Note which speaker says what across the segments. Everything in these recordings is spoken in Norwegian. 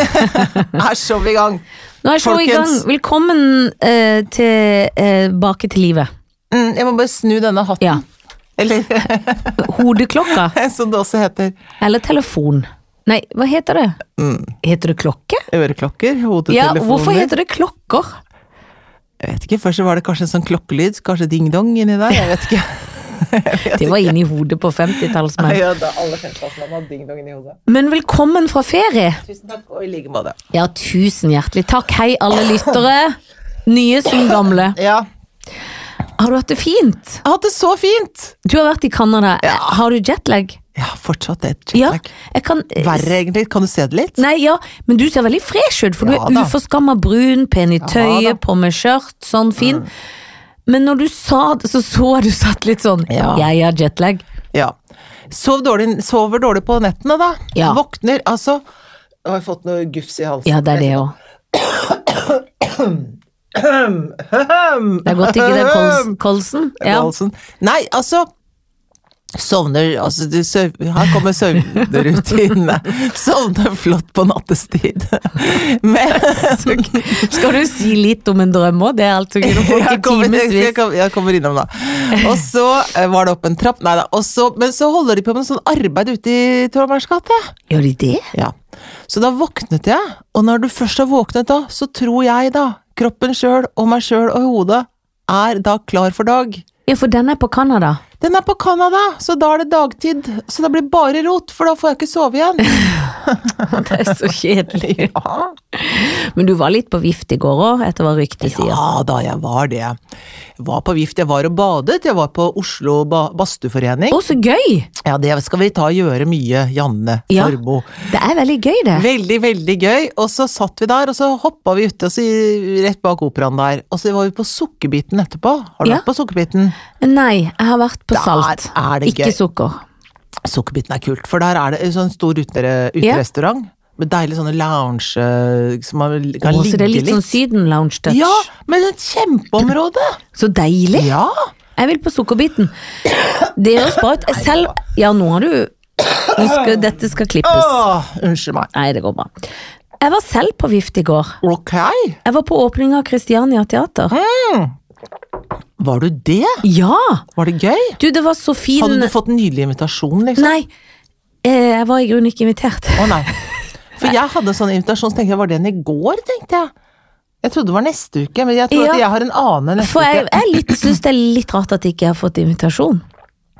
Speaker 1: er så vi i gang.
Speaker 2: Nå er showet i gang.
Speaker 1: Folkens.
Speaker 2: Velkommen eh, tilbake til livet.
Speaker 1: Mm, jeg må bare snu denne hatten.
Speaker 2: Ja.
Speaker 1: Eller
Speaker 2: Hodeklokka
Speaker 1: som det også heter.
Speaker 2: eller telefon. Nei, hva heter det?
Speaker 1: Mm,
Speaker 2: Heter det klokke?
Speaker 1: øreklokker,
Speaker 2: Ja,
Speaker 1: hodetelefoner
Speaker 2: hvorfor heter det klokker?
Speaker 1: Jeg vet ikke, Først så var det kanskje en sånn klokkelyd, kanskje ding-dong inni der. Jeg vet ikke.
Speaker 2: Det var inni hodet på 50-tallsmenn.
Speaker 1: Ja, det er alle femteklassene har ding-dong inni hodet.
Speaker 2: Men velkommen fra ferie.
Speaker 1: Tusen takk, og i like måte.
Speaker 2: Ja, tusen hjertelig takk. Hei, alle lyttere. Nye som gamle.
Speaker 1: Ja.
Speaker 2: Har du hatt det fint?
Speaker 1: Jeg har hatt det så fint!
Speaker 2: Du har vært i Canada. Har du jetlag?
Speaker 1: Jeg har fortsatt et
Speaker 2: Ja.
Speaker 1: jetlag.
Speaker 2: Jeg kan
Speaker 1: Verre, egentlig. Kan du se det litt?
Speaker 2: Nei, ja, men du ser veldig fresh ut, for
Speaker 1: Ja
Speaker 2: du
Speaker 1: da.
Speaker 2: er uforskamma brun, pen i
Speaker 1: da. Mm.
Speaker 2: tøyet, på med skjørt, sånn fin. Men når du sa det, så så jeg du satt litt sånn
Speaker 1: Ja.
Speaker 2: Jeg har jetlag.
Speaker 1: Ja. Sov dårlig, sover dårlig på nettene, da.
Speaker 2: Ja.
Speaker 1: Våkner, altså Nå har jeg fått noe gufs i halsen.
Speaker 2: Ja, det er det òg. Det er godt ikke det er kols kolsen. Ja.
Speaker 1: Halsen. Nei, altså Sovner altså, du, søv, Her kommer søvnrutinene. Sovner flott på nattestid. Men
Speaker 2: Skal du si litt om en drøm òg? Det er altså kunne folk i
Speaker 1: jeg kommer, jeg, jeg,
Speaker 2: timevis.
Speaker 1: kommer- jeg kommer innom, da. Og så eh, var det opp en trapp Nei da. Og så, men så holder de på med sånn arbeid ute i Trondheims gate.
Speaker 2: Gjør de det?
Speaker 1: Ja. Så da våknet jeg, og når du først har våknet da, så tror jeg da, kroppen sjøl og meg sjøl og hodet, er da klar for dag.
Speaker 2: Ja, for den er på Canada.
Speaker 1: Den er på Canada, så da er det dagtid. Så det blir bare rot, for da får jeg ikke sove igjen.
Speaker 2: Det er så kjedelig.
Speaker 1: Ja,
Speaker 2: Men du var litt på vift i går òg, etter hva ryktet sier.
Speaker 1: da, jeg var det. Jeg var på vift, jeg var og badet, jeg var på Oslo ba badstueforening.
Speaker 2: Å, så gøy!
Speaker 1: Ja, det skal vi ta og gjøre mye, Janne
Speaker 2: Ja.
Speaker 1: Formoe.
Speaker 2: Det er veldig gøy, det.
Speaker 1: Veldig, veldig gøy. Og så satt vi der, og så hoppa vi ute og så, rett bak operaen der. Og så var vi på Sukkerbiten etterpå. Har du
Speaker 2: Ja.
Speaker 1: vært på Sukkerbiten?
Speaker 2: Nei, jeg har vært på salt.
Speaker 1: er det
Speaker 2: Ikke
Speaker 1: gøy.
Speaker 2: sukker.
Speaker 1: Sukkerbiten er kult, for der er det en sånn stor utere-
Speaker 2: Ja.
Speaker 1: uterestaurant. Med deilig sånne lounge eh, som man kan
Speaker 2: Å, så
Speaker 1: ligge
Speaker 2: det er litt
Speaker 1: litt.
Speaker 2: sånn Syden-lounge-touch.
Speaker 1: ja, men et kjempeområde!
Speaker 2: Så deilig!
Speaker 1: Ja!
Speaker 2: Jeg vil på sukkerbiten. Det høres bra ut. Selv Ja, nå har du nå skal, Dette skal klippes.
Speaker 1: Åh, unnskyld meg.
Speaker 2: Nei, det går bra. Jeg var selv på vift i går.
Speaker 1: Ok,
Speaker 2: Jeg var på åpning av Christiania Teater.
Speaker 1: var du det?
Speaker 2: Ja!
Speaker 1: Var det gøy?
Speaker 2: Du, det var så fin
Speaker 1: Hadde du fått en nydelig invitasjon, liksom?
Speaker 2: Nei, eh, jeg var i grunnen ikke invitert.
Speaker 1: Å nei. For jeg hadde en sånn invitasjon, så tenkte jeg var den i går, tenkte jeg. Jeg trodde det var neste uke, men jeg tror
Speaker 2: Ja.
Speaker 1: at jeg har en annen neste
Speaker 2: For jeg,
Speaker 1: uke.
Speaker 2: jeg litt- syns det er litt rart at jeg ikke har fått invitasjon.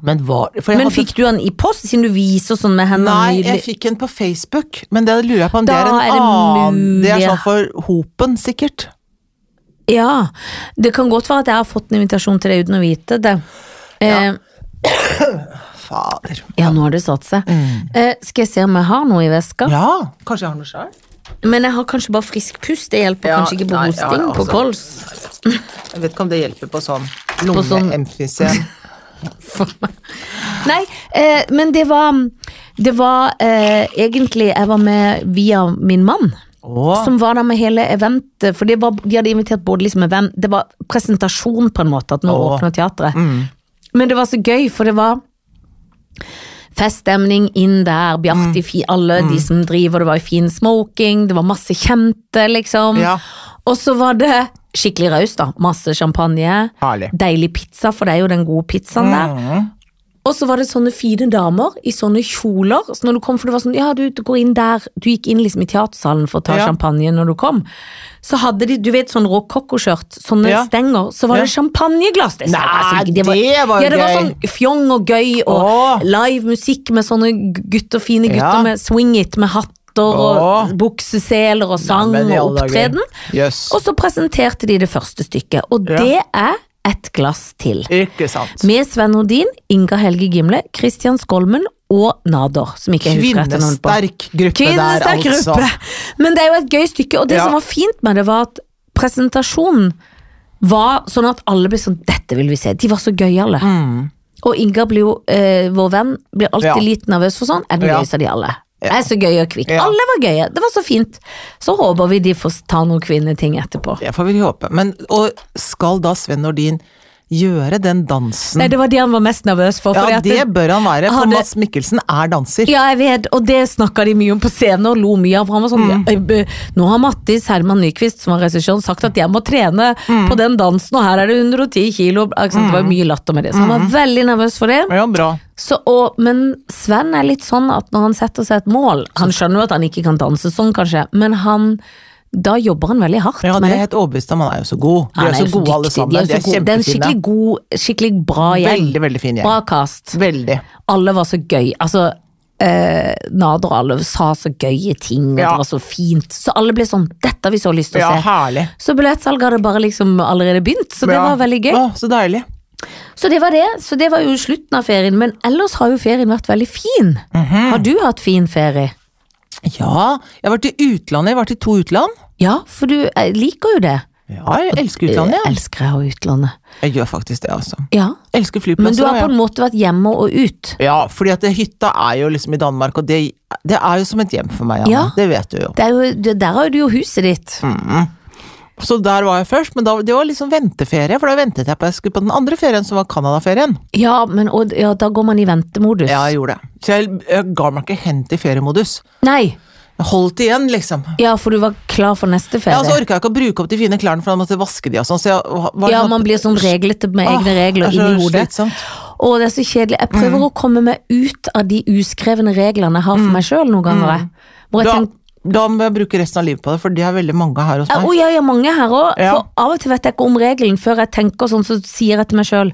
Speaker 1: Men, var, for jeg
Speaker 2: Men
Speaker 1: hadde,
Speaker 2: fikk du den i post, siden du viser sånn med hendene?
Speaker 1: Nei,
Speaker 2: nydelig?
Speaker 1: jeg fikk en på Facebook, men det lurer jeg på om det
Speaker 2: Da
Speaker 1: er en
Speaker 2: er det
Speaker 1: annen Det er
Speaker 2: mulig.
Speaker 1: sånn for hopen, sikkert.
Speaker 2: Ja, det kan godt være at jeg har fått en invitasjon til det uten å vite det. Eh,
Speaker 1: Fader.
Speaker 2: ja, nå har det satt seg. Eh, skal jeg se om jeg har noe i veska?
Speaker 1: Mm. Ja, kanskje jeg har noe sjøl?
Speaker 2: Men jeg har kanskje bare frisk pust. Det hjelper
Speaker 1: Ja,
Speaker 2: kanskje ikke på
Speaker 1: nei, ja,
Speaker 2: hosting,
Speaker 1: ja,
Speaker 2: på
Speaker 1: altså.
Speaker 2: kols.
Speaker 1: Jeg vet ikke om det hjelper på sånn
Speaker 2: sånn-
Speaker 1: lungeemfysem.
Speaker 2: Nei, eh, men det var Det var eh, egentlig Jeg var med via min mann.
Speaker 1: Å,
Speaker 2: Som var der med hele eventet. For det var, de hadde invitert både liksom event Det var presentasjon, på en måte, at nå
Speaker 1: Åh.
Speaker 2: åpner teatret.
Speaker 1: Mm.
Speaker 2: Men det var så gøy, for det var feststemning inn der.
Speaker 1: Mm.
Speaker 2: Bjarte, fi- alle de som driver, det var jo fin smoking, det var masse kjente, liksom.
Speaker 1: Ja.
Speaker 2: Og så var det skikkelig raust, da. Masse champagne.
Speaker 1: Herlig. Mm.
Speaker 2: Deilig pizza, for det er jo den gode pizzaen der. Og så var det sånne fine damer i sånne kjoler. Så når du kom, for det var sånn, ja, du, du går inn der, du gikk inn liksom i teatersalen for å ta
Speaker 1: Ja.
Speaker 2: champagne når du kom. Så hadde de, du vet, sånn rokokkoskjørt, sånne
Speaker 1: Ja.
Speaker 2: stenger, så var
Speaker 1: Ja.
Speaker 2: det champagneglass. Det, sa jeg,
Speaker 1: Nei,
Speaker 2: altså,
Speaker 1: det var jo
Speaker 2: Ja, det var
Speaker 1: gøy.
Speaker 2: sånn fjong og gøy, og
Speaker 1: Åh.
Speaker 2: live musikk med sånne gutter, fine gutter
Speaker 1: Ja.
Speaker 2: med swing it, med hatter og
Speaker 1: Åh.
Speaker 2: bukseseler og sang
Speaker 1: men i
Speaker 2: og
Speaker 1: alle dager.
Speaker 2: Mm, opptreden.
Speaker 1: Jøss.
Speaker 2: Og så presenterte de det første stykket, og
Speaker 1: Ja.
Speaker 2: det er et glass til.
Speaker 1: Ikke sant.
Speaker 2: Med Sven Nordin, Inga Helge Gimle, Kristian Skolmen og Nader. Som ikke jeg husker etter navnet på.
Speaker 1: Kvinnesterk gruppe der,
Speaker 2: Kvinnesterk
Speaker 1: altså.
Speaker 2: gruppe! Men det er jo et gøy stykke, og det
Speaker 1: Ja.
Speaker 2: som var fint med det, var at presentasjonen var sånn at alle ble sånn 'dette vil vi se'. De var så gøyale. Og Inga blir jo eh, vår venn, blir
Speaker 1: Mm.
Speaker 2: alltid
Speaker 1: Ja.
Speaker 2: litt nervøs for sånn. Er den
Speaker 1: Ja.
Speaker 2: gøyeste av de alle?
Speaker 1: Ja.
Speaker 2: Er så gøy og kvikk.
Speaker 1: Ja.
Speaker 2: Alle var gøye, det var så fint. Så håper vi de får ta noen kvinneting etterpå.
Speaker 1: Det får vi håpe. Men og skal da Sven Nordin gjøre den dansen.
Speaker 2: Nei, det var det han var mest nervøs for. fordi
Speaker 1: ja,
Speaker 2: at
Speaker 1: det bør han være, for
Speaker 2: hadde-
Speaker 1: Mads Mikkelsen er danser.
Speaker 2: Ja, jeg vet, og det snakka de mye om på scenen og lo mye av. For han var sånn
Speaker 1: Mm.
Speaker 2: «Ja, eh, Nå har Mattis Herman Nyquist, som var regissøren, sagt at jeg må trene
Speaker 1: Mm.
Speaker 2: på den dansen, og her er det 110 kilo. Ikke sant? Det var mye latter med det, så han
Speaker 1: Mm.
Speaker 2: var veldig nervøs for det.
Speaker 1: Ja, bra.
Speaker 2: Så, og, men Sven er litt sånn at når han setter seg et mål Han skjønner jo at han ikke kan danse sånn, kanskje, men han da jobber han veldig hardt
Speaker 1: Ja, det er
Speaker 2: med det.
Speaker 1: jeg helt overbevist om. Han er jo så god. De
Speaker 2: Han
Speaker 1: er,
Speaker 2: er
Speaker 1: så
Speaker 2: jo så
Speaker 1: gode alle
Speaker 2: dyktig,
Speaker 1: sammen.
Speaker 2: de er jo så gode. Det er en skikkelig god, skikkelig bra gjeng.
Speaker 1: Veldig, veldig fin gjeng.
Speaker 2: Bra cast.
Speaker 1: Veldig.
Speaker 2: alle var så gøy. Altså, eh, Nader og alle sa så gøye ting, og
Speaker 1: Ja.
Speaker 2: det var så fint. Så alle ble sånn 'dette har vi så lyst til
Speaker 1: Ja,
Speaker 2: å se'.
Speaker 1: herlig.
Speaker 2: Så billettsalget hadde bare liksom allerede begynt, så det
Speaker 1: Ja.
Speaker 2: var veldig gøy.
Speaker 1: Å, så deilig.
Speaker 2: Så det var det. Så det var jo slutten av ferien, men ellers har jo ferien vært veldig fin.
Speaker 1: Mhm.
Speaker 2: Har du hatt fin ferie?
Speaker 1: Ja, jeg har vært i utlandet. Jeg har vært i to utland.
Speaker 2: Ja, for du eh, liker jo det.
Speaker 1: Ja, jeg elsker utlandet,
Speaker 2: Eh,
Speaker 1: jeg.
Speaker 2: Elsker jeg og utlandet.
Speaker 1: Jeg gjør faktisk det, altså.
Speaker 2: Ja.
Speaker 1: Elsker
Speaker 2: Men du
Speaker 1: flyplasser.
Speaker 2: har
Speaker 1: ja.
Speaker 2: på en måte vært hjemme og ut.
Speaker 1: ja, fordi at det- hytta er jo liksom i Danmark, og det, det er jo som et hjem for meg, Anne.
Speaker 2: Ja.
Speaker 1: Det vet du jo.
Speaker 2: Det er jo, det- der har jo du jo huset ditt.
Speaker 1: Mm. Så der var jeg først, men da, det var liksom venteferie, for da ventet jeg på at jeg skulle på den andre ferien, som var Canada-ferien.
Speaker 2: Ja, men og, ja, da går man i ventemodus.
Speaker 1: Ja, jeg gjorde det. Så jeg, jeg ga meg ikke hen til feriemodus.
Speaker 2: Nei,
Speaker 1: Jeg holdt igjen, liksom.
Speaker 2: Ja, for du var klar for neste ferie.
Speaker 1: Ja, altså,
Speaker 2: Ja,
Speaker 1: så orka jeg ikke å bruke opp de fine klærne, for da måtte jeg vaske de og sånn. Så jeg var- var sånn-
Speaker 2: man blir sånn reglete med
Speaker 1: Åh,
Speaker 2: egne regler
Speaker 1: det er så
Speaker 2: inni hodet.
Speaker 1: slitsomt.
Speaker 2: Og det er så kjedelig. Jeg prøver
Speaker 1: Mm.
Speaker 2: å komme meg ut av de uskrevne reglene jeg har for meg sjøl noen ganger. jeg. Hvor jeg
Speaker 1: Mm. Da,
Speaker 2: tenker
Speaker 1: da må jeg bruke resten av livet på det, for det er veldig mange her hos
Speaker 2: «Å,
Speaker 1: meg.
Speaker 2: ja, ja, mange her òg.
Speaker 1: Ja.
Speaker 2: For av og til vet jeg ikke om regelen før jeg tenker sånn, så sier jeg til meg sjøl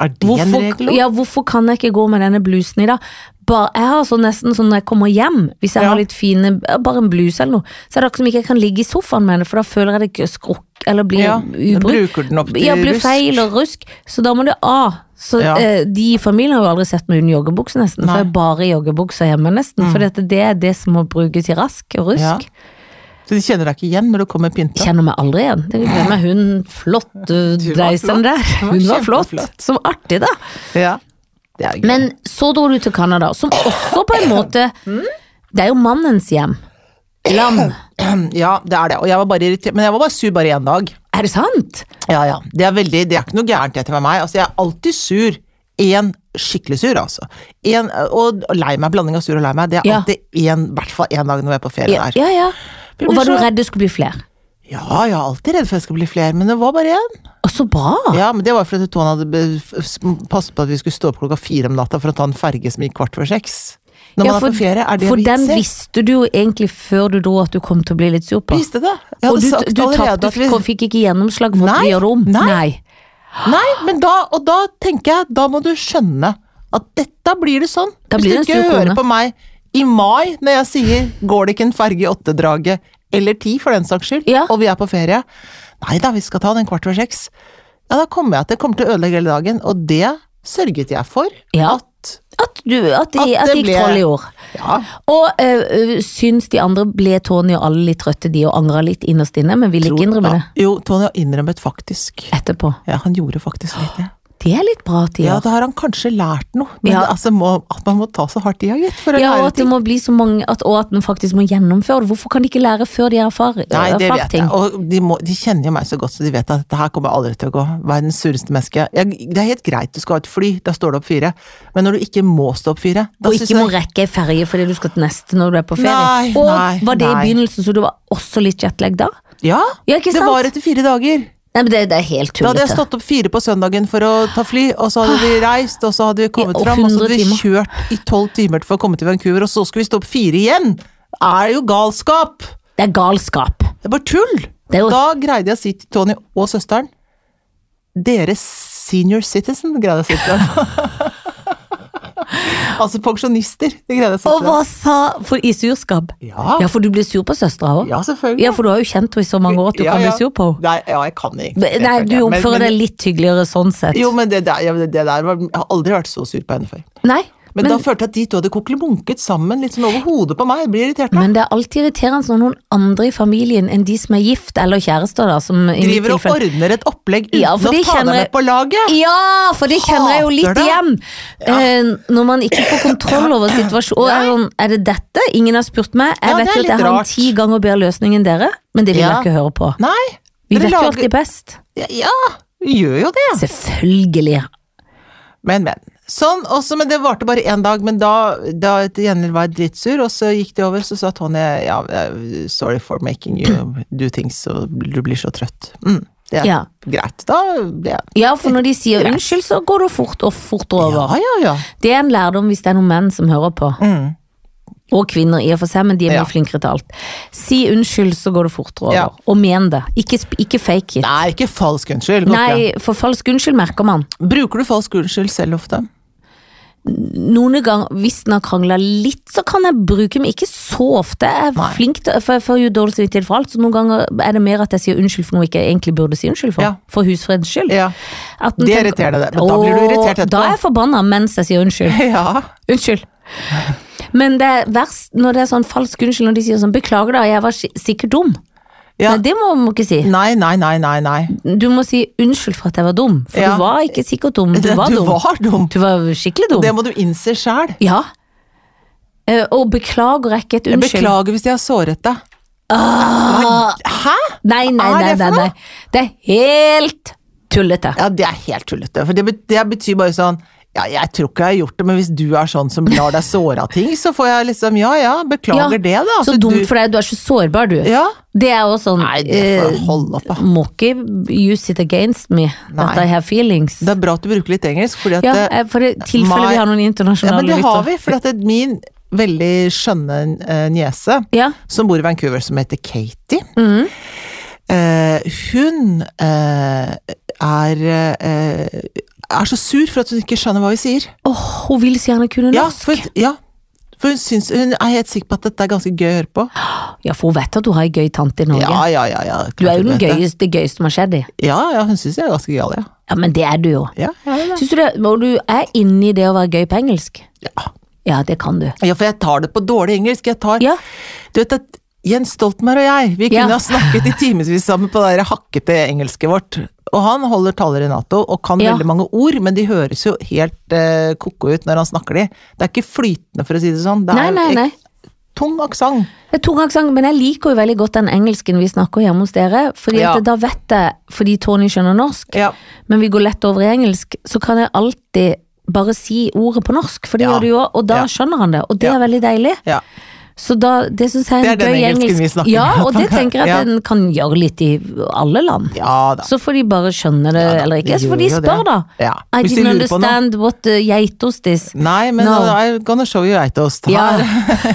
Speaker 1: Er det en
Speaker 2: hvorfor,
Speaker 1: regel?
Speaker 2: ja, hvorfor kan jeg ikke gå med denne blusen i dag? Bare, jeg har sånn nesten sånn når jeg kommer hjem, hvis jeg
Speaker 1: Ja.
Speaker 2: har litt fine Bare en bluse eller noe, så er det akkurat som ikke jeg kan ligge i sofaen med den, for da føler jeg det ikke skrukk eller blir
Speaker 1: Ja, da
Speaker 2: ubrukt.
Speaker 1: bruker den opp til
Speaker 2: Ja, blir
Speaker 1: rusk.
Speaker 2: feil og rusk, så da må det av. Så
Speaker 1: Ja.
Speaker 2: eh, de i familien har jo aldri sett meg uten joggebukse, nesten.
Speaker 1: Nei. Mm.
Speaker 2: For jeg er bare i joggebuksa hjemme, nesten. For dette, det er det som må brukes i rask og rusk.
Speaker 1: Ja. Så de kjenner deg ikke igjen når du kommer pynta?
Speaker 2: Kjenner meg aldri igjen. Det er med hun flotte
Speaker 1: Du var flott.
Speaker 2: deisen der.
Speaker 1: Du var
Speaker 2: Hun var flott.
Speaker 1: kjempeflott.
Speaker 2: Som artig, da.
Speaker 1: Ja. Det er gøy.
Speaker 2: Men så dro du til Canada, som også på en måte Det er jo mannens hjem. Land.
Speaker 1: ja, det er det. Og jeg var bare irritert, men jeg var bare sur bare én dag.
Speaker 2: Er det sant?
Speaker 1: Ja, ja. Det er, veldig, det er ikke noe gærent etter med meg. Altså, jeg er alltid sur. Én skikkelig sur, altså. En, og og lei meg. Blanding av sur og lei meg. Det er
Speaker 2: Ja.
Speaker 1: alltid én, i hvert fall én dag når vi er på ferie
Speaker 2: Ja,
Speaker 1: der.
Speaker 2: ja. ja.
Speaker 1: Det
Speaker 2: Og
Speaker 1: blir
Speaker 2: var du
Speaker 1: så-
Speaker 2: redd det skulle bli flere?
Speaker 1: Ja, jeg er alltid redd for at det skal bli flere, men det var bare én.
Speaker 2: Å, så bra!
Speaker 1: Ja, men det var fordi Tone hadde be- f- s- passet på at vi skulle stå opp klokka fire om natta for å ta en ferge som gikk kvart før seks. Når
Speaker 2: Ja,
Speaker 1: man er på ferie, er det
Speaker 2: for den
Speaker 1: vitser?
Speaker 2: visste du jo egentlig før du dro at du kom til å bli litt sur på.
Speaker 1: Visste det. Jeg
Speaker 2: Og
Speaker 1: hadde
Speaker 2: du,
Speaker 1: sagt
Speaker 2: du
Speaker 1: allerede
Speaker 2: tapte,
Speaker 1: at vi-
Speaker 2: fikk, fikk ikke gjennomslag for at
Speaker 1: Nei,
Speaker 2: du gjør det om.
Speaker 1: nei.
Speaker 2: nei.
Speaker 1: Nei, men da, og da tenker jeg, da må du skjønne at dette blir det sånn.
Speaker 2: Da blir
Speaker 1: Hvis
Speaker 2: det
Speaker 1: du
Speaker 2: en
Speaker 1: ikke
Speaker 2: sur
Speaker 1: hører
Speaker 2: kone.
Speaker 1: på meg i mai når jeg sier 'går det ikke en ferge i åttedraget', eller ti for den saks skyld,
Speaker 2: Ja.
Speaker 1: og vi er på ferie Nei da, vi skal ta den kvart over seks. Ja, da kommer jeg til kommer til å ødelegge hele dagen, og det sørget jeg for
Speaker 2: Ja.
Speaker 1: at
Speaker 2: At, du, at, de,
Speaker 1: At
Speaker 2: at det
Speaker 1: det
Speaker 2: gikk
Speaker 1: ble-
Speaker 2: troll i år.
Speaker 1: Ja.
Speaker 2: Og øh, øh, syns de andre ble Tony og alle litt trøtte, de, og angra litt innerst inne, men ville ikke innrømme det
Speaker 1: Jo, Tony har innrømmet faktisk.
Speaker 2: etterpå.
Speaker 1: Ja, han gjorde faktisk litt det.
Speaker 2: Det er litt bra at de
Speaker 1: Ja,
Speaker 2: gjør.
Speaker 1: da har han kanskje lært noe, men
Speaker 2: Ja.
Speaker 1: altså, må, at man må ta så hardt i, ja, gitt, for å
Speaker 2: Ja, og
Speaker 1: lære
Speaker 2: at det må bli så mange at, Og at den faktisk må gjennomføre det. Hvorfor kan de ikke lære før de har erfar-
Speaker 1: Nei, det
Speaker 2: erfart
Speaker 1: vet jeg.
Speaker 2: ting?
Speaker 1: Og de, må, de kjenner jo meg så godt, så de vet at dette her kommer aldri til å gå. Verdens sureste menneske. Jeg, det er helt greit, du skal ha et fly, da står det opp fire. Men når du ikke må stå opp fire, da
Speaker 2: Og
Speaker 1: synes
Speaker 2: ikke må
Speaker 1: jeg
Speaker 2: rekke ei ferge fordi du skal til neste når du er på ferie.
Speaker 1: Nei,
Speaker 2: og
Speaker 1: nei,
Speaker 2: var det
Speaker 1: nei.
Speaker 2: i begynnelsen, så du var også litt jetlag da?
Speaker 1: Ja,
Speaker 2: Ja, ikke
Speaker 1: det
Speaker 2: sant?
Speaker 1: var etter fire dager.
Speaker 2: Nei, men det, det er helt
Speaker 1: Da hadde jeg
Speaker 2: tullete.
Speaker 1: stått opp fire på søndagen for å ta fly, og så hadde vi reist, og så hadde vi kommet
Speaker 2: Ah. og
Speaker 1: fram, og så hadde
Speaker 2: 100
Speaker 1: vi kjørt i tolv timer for å komme til Vancouver, og så skulle vi stå opp fire igjen! Er jo galskap!
Speaker 2: Det er galskap.
Speaker 1: Det er bare tull!
Speaker 2: Det er jo-
Speaker 1: Da greide jeg å si til Tony og søsteren Dere senior citizen, greide jeg å si til dem. altså pensjonister, det greide jeg å si
Speaker 2: Og
Speaker 1: til dem.
Speaker 2: hva sa For i surskap?
Speaker 1: Ja.
Speaker 2: ja, for du blir sur på søstera òg?
Speaker 1: Ja, selvfølgelig.
Speaker 2: Ja, for du har jo kjent henne i så mange år at du
Speaker 1: Ja,
Speaker 2: kan
Speaker 1: ja.
Speaker 2: bli sur på henne.
Speaker 1: Nei, ja, jeg kan ikke.
Speaker 2: Men- Nei, du oppfører deg litt hyggeligere sånn sett.
Speaker 1: Jo, men det der, ja, men det der var, Jeg har aldri vært så sur på henne før.
Speaker 2: Nei,
Speaker 1: Men, da følte jeg at de to hadde kokelebunket sammen litt sånn over hodet på meg. Jeg blir irritert. nå.
Speaker 2: Men det er alltid irriterende når noen andre i familien enn de som er gift eller kjærester, da, som i mitt
Speaker 1: Driver og
Speaker 2: tilfelle
Speaker 1: ordner et opplegg uten
Speaker 2: Ja, for
Speaker 1: å
Speaker 2: de
Speaker 1: ta deg
Speaker 2: kjenner-
Speaker 1: med på laget!
Speaker 2: ja, for det kjenner jeg jo
Speaker 1: Hater
Speaker 2: litt
Speaker 1: det.
Speaker 2: igjen. Eh, når man ikke får kontroll over situasjonen. Og er, sånn, er det dette? Ingen har spurt meg. Jeg
Speaker 1: Ja, det
Speaker 2: vet
Speaker 1: er
Speaker 2: jo at
Speaker 1: litt
Speaker 2: jeg har
Speaker 1: rart.
Speaker 2: en ti ganger bedre løsning enn dere, men det vil
Speaker 1: Ja.
Speaker 2: jeg ikke høre på.
Speaker 1: Nei!
Speaker 2: Vi
Speaker 1: dere
Speaker 2: vet jo
Speaker 1: lager-
Speaker 2: alltid best.
Speaker 1: Ja, Ja, Gjør jo det.
Speaker 2: Selvfølgelig.
Speaker 1: Men, men. Sånn, også, men det varte bare én dag, men da, da til gjengjeld var jeg drittsur, og så gikk det over, så sa Tony ja, eh, sorry for making you do things, og du blir så trøtt. Mm, det er
Speaker 2: Ja.
Speaker 1: greit. Da ble jeg
Speaker 2: Ja, for når de sier
Speaker 1: Greit.
Speaker 2: unnskyld, så går det fort og fort
Speaker 1: Ja,
Speaker 2: over.
Speaker 1: ja, ja.
Speaker 2: Det er en lærdom hvis det er noen menn som hører på.
Speaker 1: Mm.
Speaker 2: Og kvinner i og for seg, men de er mye
Speaker 1: Ja.
Speaker 2: flinkere til alt. Si unnskyld, så går det fortere over.
Speaker 1: Ja.
Speaker 2: Og men det. Ikke, sp- ikke fake it.
Speaker 1: Nei, ikke falsk unnskyld. håper jeg.
Speaker 2: Nei, for falsk unnskyld merker man.
Speaker 1: Bruker du falsk unnskyld selv ofte?
Speaker 2: Noen ganger, hvis den har krangla litt, så kan jeg bruke men ikke så ofte. Jeg
Speaker 1: Nei.
Speaker 2: er flink til, for jeg får jo dårlig samvittighet for alt, så noen ganger er det mer at jeg sier unnskyld for noe jeg ikke egentlig burde si unnskyld for.
Speaker 1: Ja.
Speaker 2: For husfredens skyld.
Speaker 1: Ja.
Speaker 2: At den
Speaker 1: Det
Speaker 2: tenker-
Speaker 1: irriterer deg, men da blir du irritert
Speaker 2: Åh, Da
Speaker 1: etterpå.
Speaker 2: er jeg forbanna mens jeg sier unnskyld.
Speaker 1: Ja.
Speaker 2: Unnskyld. Men det er verst når det er sånn falsk unnskyld når de sier sånn 'beklager, da, jeg var si- sikkert dum'.
Speaker 1: Ja.
Speaker 2: Nei, det må man ikke si.
Speaker 1: Nei, nei, nei, nei. nei.
Speaker 2: Du må si 'unnskyld for at jeg var dum', for
Speaker 1: Ja.
Speaker 2: du var ikke sikkert dum, du var
Speaker 1: du
Speaker 2: dum.
Speaker 1: var dum.
Speaker 2: Du var skikkelig dum.
Speaker 1: Det må du innse sjæl.
Speaker 2: Ja. Eh, Og beklager er ikke et unnskyld. Ah.
Speaker 1: Beklager hvis jeg har såret deg. Hæ?
Speaker 2: Nei, nei,
Speaker 1: Hva er
Speaker 2: nei,
Speaker 1: det
Speaker 2: nei,
Speaker 1: for
Speaker 2: nei. Det er helt tullete.
Speaker 1: Ja, det er helt tullete. For det, bet- det betyr bare sånn ja, jeg tror ikke jeg har gjort det, men hvis du er sånn som lar deg såre av ting, så får jeg liksom ja ja, beklager det, da.
Speaker 2: Så
Speaker 1: Altså,
Speaker 2: dumt
Speaker 1: du-
Speaker 2: for deg, du er så sårbar, du.
Speaker 1: Ja.
Speaker 2: Det er jo sånn
Speaker 1: Nei, det får
Speaker 2: eh,
Speaker 1: holde opp, da.
Speaker 2: Må ikke use it against me that
Speaker 1: Nei.
Speaker 2: I have feelings.
Speaker 1: Det er bra at du bruker litt engelsk, fordi at
Speaker 2: ja,
Speaker 1: det-
Speaker 2: eh, for i tilfelle
Speaker 1: my-
Speaker 2: vi har noen
Speaker 1: Ja,
Speaker 2: internasjonale
Speaker 1: men det har vi, for at det er min veldig skjønne eh, niese,
Speaker 2: Ja.
Speaker 1: som bor i Vancouver, som heter Katie. Eh, hun eh, er eh, er så sur for at hun ikke skjønner hva vi sier.
Speaker 2: Åh, hun vil så gjerne kunne
Speaker 1: Ja,
Speaker 2: norsk.
Speaker 1: for, ja, for hun, syns, hun er helt sikker på at dette er ganske gøy å høre på.
Speaker 2: Ja, for hun vet at du har ei gøy tante i Norge.
Speaker 1: Ja, ja, ja, ja
Speaker 2: du er
Speaker 1: klart
Speaker 2: jo
Speaker 1: hun
Speaker 2: den
Speaker 1: vet det.
Speaker 2: gøyeste, det gøyeste som har skjedd i.
Speaker 1: Ja, ja, hun syns jeg er ganske gøyal, ja.
Speaker 2: Ja, men det er du jo.
Speaker 1: Ja, ja, ja.
Speaker 2: Syns du det, og du er inni det å være gøy på engelsk?
Speaker 1: ja.
Speaker 2: Ja, det kan du.
Speaker 1: Ja, for jeg tar det på dårlig engelsk. Jeg tar
Speaker 2: Ja.
Speaker 1: Du vet at Jens Stoltenberg og jeg, vi kunne
Speaker 2: Ja.
Speaker 1: ha snakket i timevis sammen på det der hakkete engelsket vårt. Og han holder taler i Nato og kan
Speaker 2: Ja.
Speaker 1: veldig mange ord, men de høres jo helt eh, ko-ko ut når han snakker de. Det er ikke flytende, for å si det sånn. Det
Speaker 2: Nei,
Speaker 1: er
Speaker 2: nei,
Speaker 1: ek-
Speaker 2: nei.
Speaker 1: tung aksent.
Speaker 2: Det er tungaksang, men jeg liker jo veldig godt den engelsken vi snakker hjemme hos dere. Fordi
Speaker 1: Ja.
Speaker 2: at da vet jeg, fordi Tony skjønner norsk,
Speaker 1: Ja.
Speaker 2: men vi går lett over i engelsk, så kan jeg alltid bare si ordet på norsk, for det
Speaker 1: Ja.
Speaker 2: gjør du jo, og da
Speaker 1: Ja.
Speaker 2: skjønner han det, og det
Speaker 1: Ja.
Speaker 2: er veldig deilig.
Speaker 1: ja.
Speaker 2: Så da, det syns jeg er en
Speaker 1: Det er den
Speaker 2: gøy
Speaker 1: engelsken
Speaker 2: engelsk.
Speaker 1: vi snakker
Speaker 2: ja,
Speaker 1: med.
Speaker 2: og det tenker jeg at
Speaker 1: Ja.
Speaker 2: den kan gjøre litt i alle land.
Speaker 1: Ja da.
Speaker 2: Så får de bare skjønne det
Speaker 1: Ja da,
Speaker 2: eller ikke,
Speaker 1: de
Speaker 2: så får de
Speaker 1: gjør jo
Speaker 2: spørre
Speaker 1: det.
Speaker 2: da.
Speaker 1: Ja.
Speaker 2: I
Speaker 1: Hvis de lurer på
Speaker 2: didn't
Speaker 1: noe.
Speaker 2: understand what uh, geitos this.
Speaker 1: Nei, men
Speaker 2: No.
Speaker 1: I'm gonna show you right host.
Speaker 2: Ja.
Speaker 1: Her.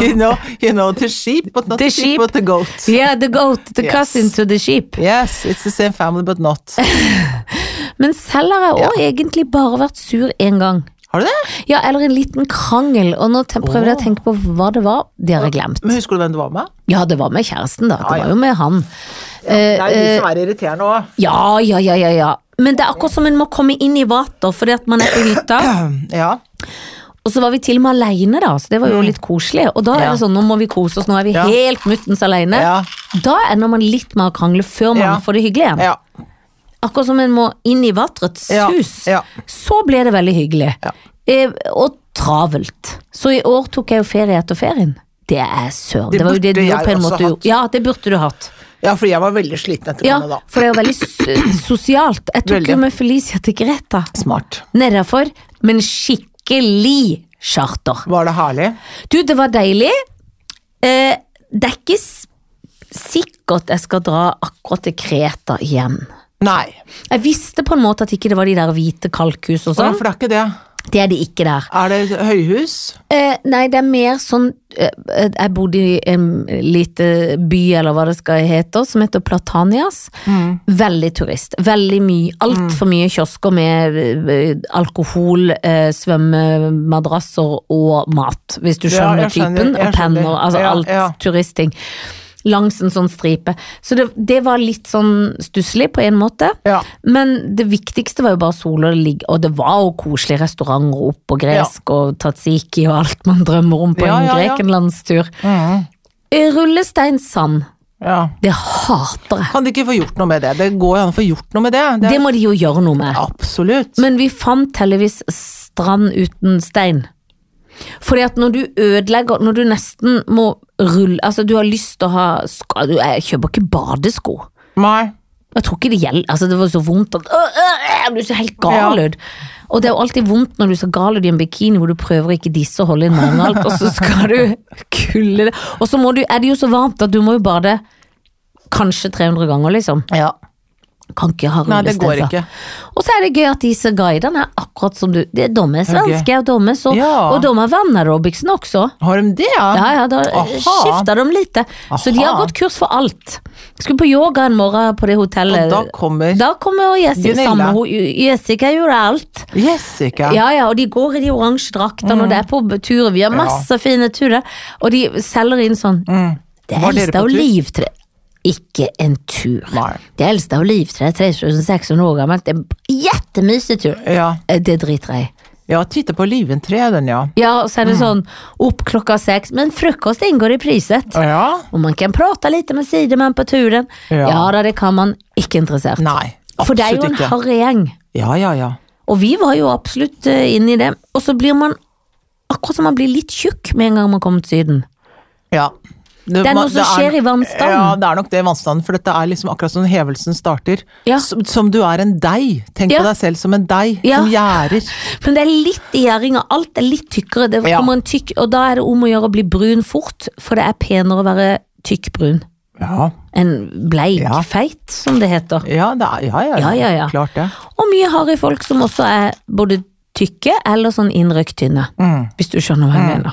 Speaker 1: You, know, you know the sheep, but not
Speaker 2: The
Speaker 1: the sheep,
Speaker 2: sheep.
Speaker 1: but the goat.
Speaker 2: Yeah, the goat, the
Speaker 1: Yes.
Speaker 2: cousin to the sheep.
Speaker 1: Yes, it's the same family, but not.
Speaker 2: Men selv har jeg òg egentlig bare vært sur én gang.
Speaker 1: Har du det?
Speaker 2: Ja, eller en liten krangel, og nå te- prøvde jeg å tenke på hva det var. Det har jeg glemt.
Speaker 1: Men husker du hvem du var med?
Speaker 2: Ja, det var med kjæresten, da. Det
Speaker 1: Ah, ja.
Speaker 2: var jo med han. Eh,
Speaker 1: Det er jo de som er irriterende òg.
Speaker 2: Ja, ja, ja, ja. ja. Men det er akkurat som en må komme inn i vater fordi at man er på hytta.
Speaker 1: Um, Ja.
Speaker 2: Og så var vi til og med aleine, da, så det var jo litt koselig. Og da er det sånn, nå må vi kose oss, nå er vi
Speaker 1: Mm. Ja.
Speaker 2: helt muttens aleine.
Speaker 1: Ja.
Speaker 2: Da ender man litt med å krangle før man
Speaker 1: Ja.
Speaker 2: får det hyggelig igjen.
Speaker 1: ja.
Speaker 2: Akkurat som en må inn i vatrets
Speaker 1: Ja,
Speaker 2: hus,
Speaker 1: ja.
Speaker 2: så ble det veldig hyggelig.
Speaker 1: Ja.
Speaker 2: Eh, og travelt. Så i år tok jeg jo ferie etter ferien. Det er søren.
Speaker 1: Det
Speaker 2: Det, var jo det
Speaker 1: burde
Speaker 2: du
Speaker 1: jeg
Speaker 2: på en
Speaker 1: også
Speaker 2: måte gjorde.
Speaker 1: hatt.
Speaker 2: Ja, det burde du hatt.
Speaker 1: Ja, fordi jeg var veldig sliten etter
Speaker 2: Ja,
Speaker 1: henne da.
Speaker 2: for det er jo veldig s- sosialt. Jeg tok
Speaker 1: Veldig.
Speaker 2: jo med Felicia til Greta
Speaker 1: Smart.
Speaker 2: nedafor, men skikkelig charter.
Speaker 1: Var det herlig?
Speaker 2: Du, det var deilig. Eh, det er ikke s- sikkert jeg skal dra akkurat til Kreta igjen.
Speaker 1: Nei.
Speaker 2: Jeg visste på en måte at ikke det var de der hvite kalkhus
Speaker 1: Å,
Speaker 2: og sånn.
Speaker 1: for det er ikke det.
Speaker 2: Det er det ikke der.
Speaker 1: Er det høyhus?
Speaker 2: Eh, nei, det er mer sånn eh, eh, Jeg bodde i en lite by, eller hva det skal hete, som heter Platanias.
Speaker 1: Mm.
Speaker 2: Veldig turist. Veldig mye. Altfor mye kiosker med eh, alkohol, eh, svømmemadrasser og mat, hvis du
Speaker 1: Ja,
Speaker 2: skjønner,
Speaker 1: jeg skjønner,
Speaker 2: typen.
Speaker 1: jeg
Speaker 2: Og penner,
Speaker 1: skjønner.
Speaker 2: altså
Speaker 1: Ja,
Speaker 2: alt
Speaker 1: ja.
Speaker 2: turistting. Langs en sånn stripe. Så det, det var litt sånn stusslig på en måte.
Speaker 1: Ja.
Speaker 2: Men det viktigste var jo bare sol og det ligge, og det var jo koselige restauranter opp og gresk og tatsiki og alt man drømmer om på
Speaker 1: Ja,
Speaker 2: en
Speaker 1: ja, Mm. ja.
Speaker 2: Grekenlandstur. Rullesteinsand,
Speaker 1: ja.
Speaker 2: det hater jeg.
Speaker 1: Kan de ikke få gjort noe med det? Det går jo an å få gjort noe med det. det
Speaker 2: Det må de jo gjøre noe med.
Speaker 1: Absolutt.
Speaker 2: Men vi fant heldigvis strand uten stein. Fordi at når du ødelegger, når du nesten må rulle, altså du har lyst til å ha, sko, du, jeg kjøper ikke badesko.
Speaker 1: Nei.
Speaker 2: Og jeg tror ikke det gjelder altså, Det var så vondt at øh, øh, Jeg blir så helt gal
Speaker 1: Ja.
Speaker 2: ut. Og det er jo alltid vondt når du ser gal ut i en bikini hvor du prøver å ikke disse og holde inn magen, og alt, og så skal du kulle det. Og så må du, er det jo så varmt at du må jo bade kanskje 300 ganger, liksom.
Speaker 1: Ja.
Speaker 2: Kan ikke ha
Speaker 1: Nei, det går
Speaker 2: rullestøvler.
Speaker 1: ikke.
Speaker 2: Og så er det gøy at disse guidene er akkurat som du. Det er domme svenske og domme, så,
Speaker 1: Ja.
Speaker 2: og domme venner Robiksen også.
Speaker 1: Har de det, ja?
Speaker 2: Ja, ja, da
Speaker 1: Aha.
Speaker 2: skifter de lite. Så de har
Speaker 1: Aha.
Speaker 2: gått kurs for alt. Skulle på yoga en morgen på det
Speaker 1: Og
Speaker 2: hotellet.
Speaker 1: da kommer
Speaker 2: Da kommer Jessica.
Speaker 1: Gunilla.
Speaker 2: Samme, ho- Jessica gjorde alt.
Speaker 1: Jessica.
Speaker 2: Ja, ja, og de går i de oransje draktene,
Speaker 1: Mm.
Speaker 2: og det er på turer. Vi har masse fine turer. Og de selger inn sånn
Speaker 1: Mm.
Speaker 2: Det
Speaker 1: Var dere
Speaker 2: eldste
Speaker 1: på
Speaker 2: av
Speaker 1: tur?
Speaker 2: livtre Ikke en tur.
Speaker 1: Nei.
Speaker 2: Det eldste av livtre er 3600 år gammelt. Det er en Jettemysetur.
Speaker 1: Ja.
Speaker 2: Eh, Det driter jeg i.
Speaker 1: ja, titte på liventre, den, ja.
Speaker 2: Ja, og så
Speaker 1: Mm.
Speaker 2: er det sånn opp klokka seks, men frokost inngår i priset.
Speaker 1: Ja?
Speaker 2: Och man kan prata lite med sidemän på turen. Ja,
Speaker 1: Ja.
Speaker 2: da, det kan man. Ikke interessert.
Speaker 1: Nei,
Speaker 2: For det er jo
Speaker 1: absolutt
Speaker 2: en
Speaker 1: ikke.
Speaker 2: harry gjeng.
Speaker 1: Ja, ja, ja.
Speaker 2: Og vi var jo absolutt eh, inne i det. Og så blir man akkurat som man blir litt tjukk med en gang man kommer til Syden.
Speaker 1: ja. Det,
Speaker 2: er
Speaker 1: ma-
Speaker 2: noe som skjer i vannstanden.
Speaker 1: Ja, det er nok det i vannstanden, for dette er liksom akkurat som hevelsen starter.
Speaker 2: Ja.
Speaker 1: Som, som du er en deig. Tenk
Speaker 2: Ja.
Speaker 1: på deg selv som en deig
Speaker 2: Ja.
Speaker 1: som gjærer.
Speaker 2: Men det er litt gjæring, og alt er litt tykkere. Det
Speaker 1: Ja.
Speaker 2: kommer en tykk, og da er det om å gjøre å bli brun fort, for det er penere å være tykkbrun
Speaker 1: Ja.
Speaker 2: enn bleik
Speaker 1: Ja.
Speaker 2: feit, som det heter.
Speaker 1: Ja, det er, ja, ja,
Speaker 2: Ja, ja, ja.
Speaker 1: Klart det.
Speaker 2: Og mye harry folk som også er både tykke eller sånn innrøkt tynne.
Speaker 1: Mm.
Speaker 2: Hvis du skjønner hva jeg mener.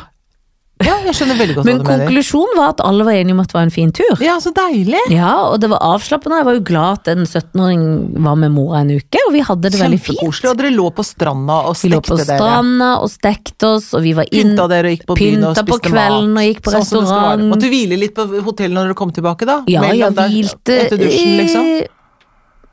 Speaker 1: Ja, jeg skjønner veldig godt
Speaker 2: Men
Speaker 1: hva du mener.
Speaker 2: konklusjonen var at alle var enige om at det var en fin tur.
Speaker 1: Ja, så deilig.
Speaker 2: Ja, og det var avslappende. Jeg var jo glad at en 17-åring var med mora en uke, og vi hadde det veldig fint.
Speaker 1: Kjempekoselig. Og dere lå på stranda og
Speaker 2: Vi
Speaker 1: stekte
Speaker 2: lå på stranda og stekte oss, og vi var
Speaker 1: dere.
Speaker 2: inn
Speaker 1: Pynta dere og gikk på byen og
Speaker 2: pynta
Speaker 1: spiste
Speaker 2: på kvelden
Speaker 1: mat.
Speaker 2: og gikk på
Speaker 1: Sånn som det skal være.
Speaker 2: restaurant.
Speaker 1: Måtte hvile litt på hotellet når dere kom tilbake, da?
Speaker 2: Ja,
Speaker 1: Mellom
Speaker 2: jeg
Speaker 1: der-
Speaker 2: hvilte
Speaker 1: Etter dusjen, liksom?
Speaker 2: eh,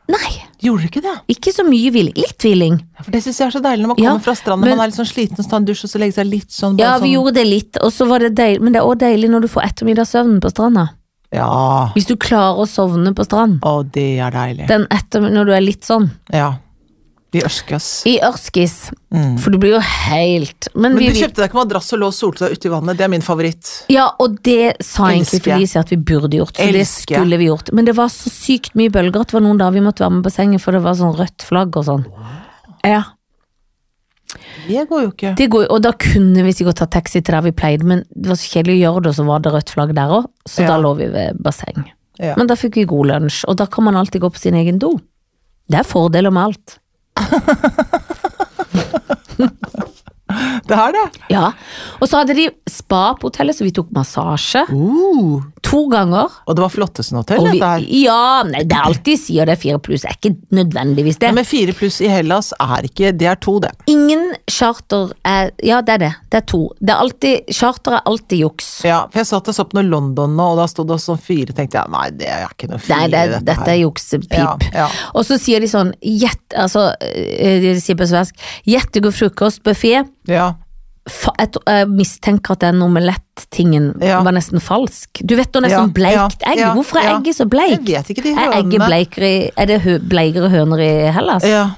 Speaker 2: Nei,
Speaker 1: Gjorde dere ikke det?
Speaker 2: ikke så mye hvil. Litt hviling.
Speaker 1: Ja, For det syns jeg er så deilig når man
Speaker 2: Ja,
Speaker 1: kommer fra stranda,
Speaker 2: men-
Speaker 1: man er litt sånn sliten, så ta en dusj og så legge seg litt sånn bare
Speaker 2: Ja, vi
Speaker 1: sånn-
Speaker 2: gjorde det litt, og så var det deilig. Men det er òg deilig når du får ettermiddagssøvnen på stranda.
Speaker 1: Ja.
Speaker 2: Hvis du klarer å sovne på strand.
Speaker 1: Å, det er deilig.
Speaker 2: Den etter, når du er litt sånn.
Speaker 1: Ja. Vi ørsker oss.
Speaker 2: I ørskis.
Speaker 1: Mm.
Speaker 2: For du blir jo helt Men,
Speaker 1: Men
Speaker 2: vi,
Speaker 1: du kjøpte deg ikke madrass og lå og solte deg ute i vannet, det er min favoritt.
Speaker 2: Ja, og det sa egentlig
Speaker 1: Elsker.
Speaker 2: Felicia at vi burde gjort, så det
Speaker 1: Elsker.
Speaker 2: skulle vi gjort. Men det var så sykt mye bølger at det var noen dager vi måtte være med på sengen, for det var sånn rødt flagg og sånn. Ja,
Speaker 1: Det går jo ikke.
Speaker 2: det går, Og da kunne vi sikkert ta taxi til der vi pleide, men det var så kjedelig å gjøre det, og så var det rødt flagg der òg, så
Speaker 1: Ja.
Speaker 2: da lå vi ved basseng.
Speaker 1: Ja.
Speaker 2: Men da fikk vi god lunsj, og da kan man alltid gå på sin egen do. Det er fordeler med alt.
Speaker 1: Det er det.
Speaker 2: Ja. Og så hadde de spa på hotellet, så vi tok massasje
Speaker 1: Uh.
Speaker 2: to ganger.
Speaker 1: Og det var Flottesenhotell,
Speaker 2: Og vi,
Speaker 1: dette her.
Speaker 2: ja, nei, det er alltid sier det er fire pluss, det er ikke nødvendigvis det.
Speaker 1: Ja, men fire pluss i Hellas er ikke Det er to, det.
Speaker 2: Ingen charter er Ja, det er det. Det er to. Det er alltid, charter er alltid juks.
Speaker 1: Ja, for jeg satt og så på noe London nå, og da sto det også sånn fire. Tenkte jeg nei, det er ikke noe fire,
Speaker 2: Nei, det er,
Speaker 1: dette,
Speaker 2: dette er
Speaker 1: her.
Speaker 2: juksepip.
Speaker 1: Ja, ja.
Speaker 2: Og så sier de sånn gjett, altså, eh, De sier på svensk Jettegod frokostbuffé.
Speaker 1: Ja.
Speaker 2: Jeg tror- jeg mistenker at den omelettingen
Speaker 1: Ja.
Speaker 2: var nesten falsk. Du vet når det er
Speaker 1: Ja,
Speaker 2: sånn bleikt
Speaker 1: ja,
Speaker 2: egg.
Speaker 1: ja,
Speaker 2: Hvorfor er
Speaker 1: ja.
Speaker 2: egget så bleikt?
Speaker 1: Jeg vet ikke, de
Speaker 2: er egget
Speaker 1: hønene.
Speaker 2: bleikere i, Er det hø, bleikere høner i Hellas?
Speaker 1: ja.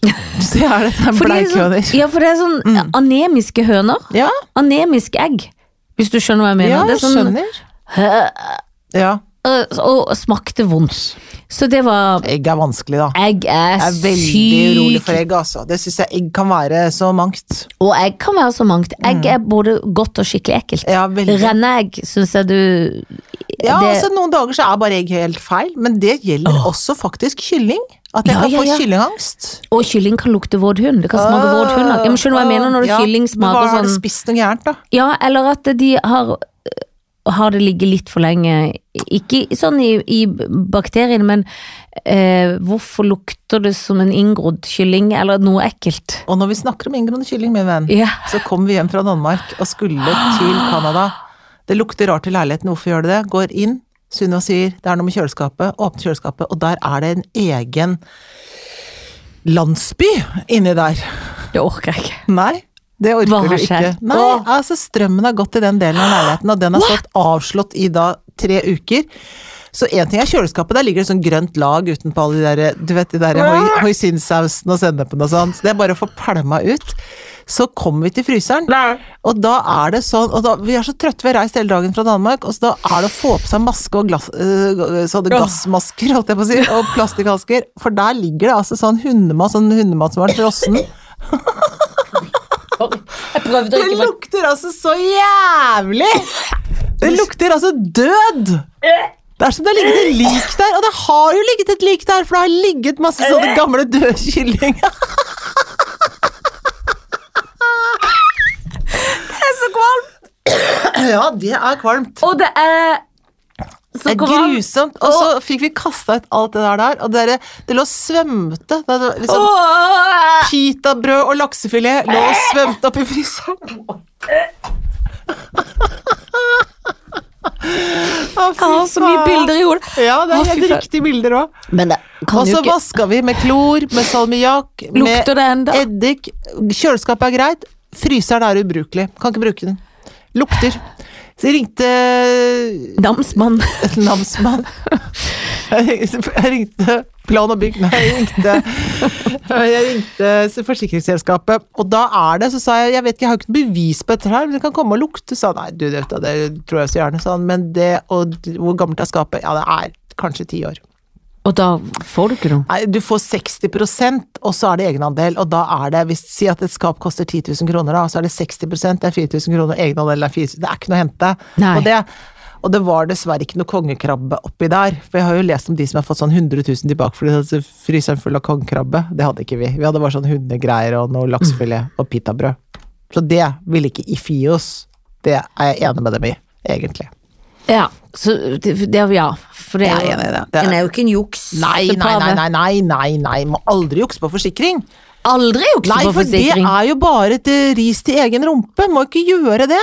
Speaker 1: Det er det. det er
Speaker 2: For de er
Speaker 1: Bleikjøner.
Speaker 2: Sånn, ja, for det er sånn anemiske høner.
Speaker 1: Ja,
Speaker 2: Anemisk egg, hvis du skjønner hva jeg mener.
Speaker 1: ja, jeg
Speaker 2: det er sånn,
Speaker 1: skjønner. Ja.
Speaker 2: Øh, og smakte vondt. Så det var
Speaker 1: Egg er vanskelig, da.
Speaker 2: Egg er,
Speaker 1: Jeg er veldig urolig
Speaker 2: sykt
Speaker 1: for egg, altså. Det syns jeg egg kan være så mangt.
Speaker 2: Og egg kan være så mangt. Egg er både godt og skikkelig ekkelt.
Speaker 1: Mm. Ja, veldig.
Speaker 2: Renneegg syns jeg du
Speaker 1: Ja,
Speaker 2: det,
Speaker 1: altså Noen dager så er bare egg helt feil, men det gjelder også faktisk kylling. At jeg
Speaker 2: Ja,
Speaker 1: kan
Speaker 2: ja, ja.
Speaker 1: få kyllingangst.
Speaker 2: Og kylling kan lukte våt hund. Det kan smake
Speaker 1: Åh,
Speaker 2: våt hund. Jeg skjønner du hva jeg mener når det
Speaker 1: ja.
Speaker 2: kylling
Speaker 1: Men hva
Speaker 2: smaker
Speaker 1: Har du
Speaker 2: sånn
Speaker 1: spist noe gærent, da?
Speaker 2: Ja, eller at de har har det ligget litt for lenge Ikke sånn i, i bakteriene, men eh, hvorfor lukter det som en inngrodd kylling, eller noe ekkelt?
Speaker 1: Og når vi snakker om inngrodd kylling, min venn,
Speaker 2: Ja.
Speaker 1: så kom vi hjem fra Danmark og skulle til Canada. Det lukter rart i leiligheten, hvorfor gjør det det? Går inn, Sunniva sier det er noe med kjøleskapet, åpner kjøleskapet, og der er det en egen landsby inni der.
Speaker 2: Det orker jeg ikke.
Speaker 1: Nei, det orker
Speaker 2: Hva har
Speaker 1: du ikke.
Speaker 2: skjedd?
Speaker 1: Nei,
Speaker 2: Åh.
Speaker 1: altså strømmen har gått i den delen av leiligheten, og den har stått avslått i da tre uker. Så én ting er kjøleskapet, der ligger det sånn grønt lag utenpå alle de der, du vet, de der hoi- hoisinsausene og sennepen og sånn. Så det er bare å få pælma ut. Så kommer vi til fryseren, og da er det sånn og da, Vi er så trøtte, vi har reist hele dagen fra Danmark, og så da er det å få på seg maske og glass, øh, sånne gassmasker, holdt jeg på å si, og plastikkhansker, for der ligger det altså sånn hundemat, sånn hundemat som har vært frossen.
Speaker 2: Jeg prøvde å
Speaker 1: Det
Speaker 2: ikke
Speaker 1: lukter altså så jævlig! Det lukter altså død! Det er som det har ligget et lik der, og det har jo ligget et lik der, for det har ligget masse sånne gamle døde kyllinger.
Speaker 2: være så kvalm!
Speaker 1: Ja, det er kvalmt.
Speaker 2: Og det er
Speaker 1: Det
Speaker 2: så
Speaker 1: er grusomt. Og så fikk vi kasta ut alt det der der, og dere, det lå og svømte. Det var liksom
Speaker 2: Åh!
Speaker 1: Pitabrød og laksefilet lå og svømte oppi fryseren. Å, fy
Speaker 2: Jeg har så mye
Speaker 1: faen.
Speaker 2: bilder i hodet.
Speaker 1: Ja, det
Speaker 2: Å,
Speaker 1: er
Speaker 2: fy
Speaker 1: helt
Speaker 2: faen.
Speaker 1: riktige bilder òg.
Speaker 2: Men det
Speaker 1: Og
Speaker 2: kan jo
Speaker 1: så
Speaker 2: ikke
Speaker 1: vaska vi med klor, med salmiakk, med
Speaker 2: Lukter det enda?
Speaker 1: eddik. Kjøleskapet er greit, fryseren er ubrukelig. Kan ikke bruke den. Lukter. Så jeg ringte
Speaker 2: Damsmann.
Speaker 1: et namsmann. Jeg ringte- jeg ringte Plan og bygg, nei, jeg ringte, jeg ringte forsikringsselskapet. Og da er det, så sa jeg jeg vet ikke, jeg har jo ikke noe bevis på dette her, men det kan komme og lukte. Sa han, nei, du, det, vet du, det tror jeg så gjerne, sa han. Men det, og hvor gammelt er skapet? Ja, det er kanskje ti år.
Speaker 2: Og da får du ikke noe.
Speaker 1: Nei, du får 60 og så er det egenandel, og da er det hvis, Si at et skap koster 10 000 kroner, da, så er det 60 det er 4000 kroner, egenandelen er 4000 Det er ikke noe å hente.
Speaker 2: Nei.
Speaker 1: Og det, og det var dessverre ikke noe kongekrabbe oppi der. For jeg har jo lest om de som har fått sånn 100 000 tilbake fordi de hadde fryseren full av kongekrabbe. Det hadde ikke vi. Vi hadde bare sånn hundegreier og noe laksefilet og pitabrød. Så det ville ikke IFI oss. Det er jeg enig med dem i, egentlig.
Speaker 2: Ja, så det, det, ja. For det er,
Speaker 1: Jeg er
Speaker 2: jo-
Speaker 1: enig i det. Det er-
Speaker 2: den er jo ikke en juks.
Speaker 1: Nei,
Speaker 2: Det
Speaker 1: nei, nei,
Speaker 2: pave.
Speaker 1: nei, nei, nei, nei. Må aldri jukse på forsikring.
Speaker 2: Aldri jukse
Speaker 1: Nei,
Speaker 2: på
Speaker 1: for det
Speaker 2: forsikring.
Speaker 1: er jo bare et eh, ris til egen rumpe. Må ikke gjøre det.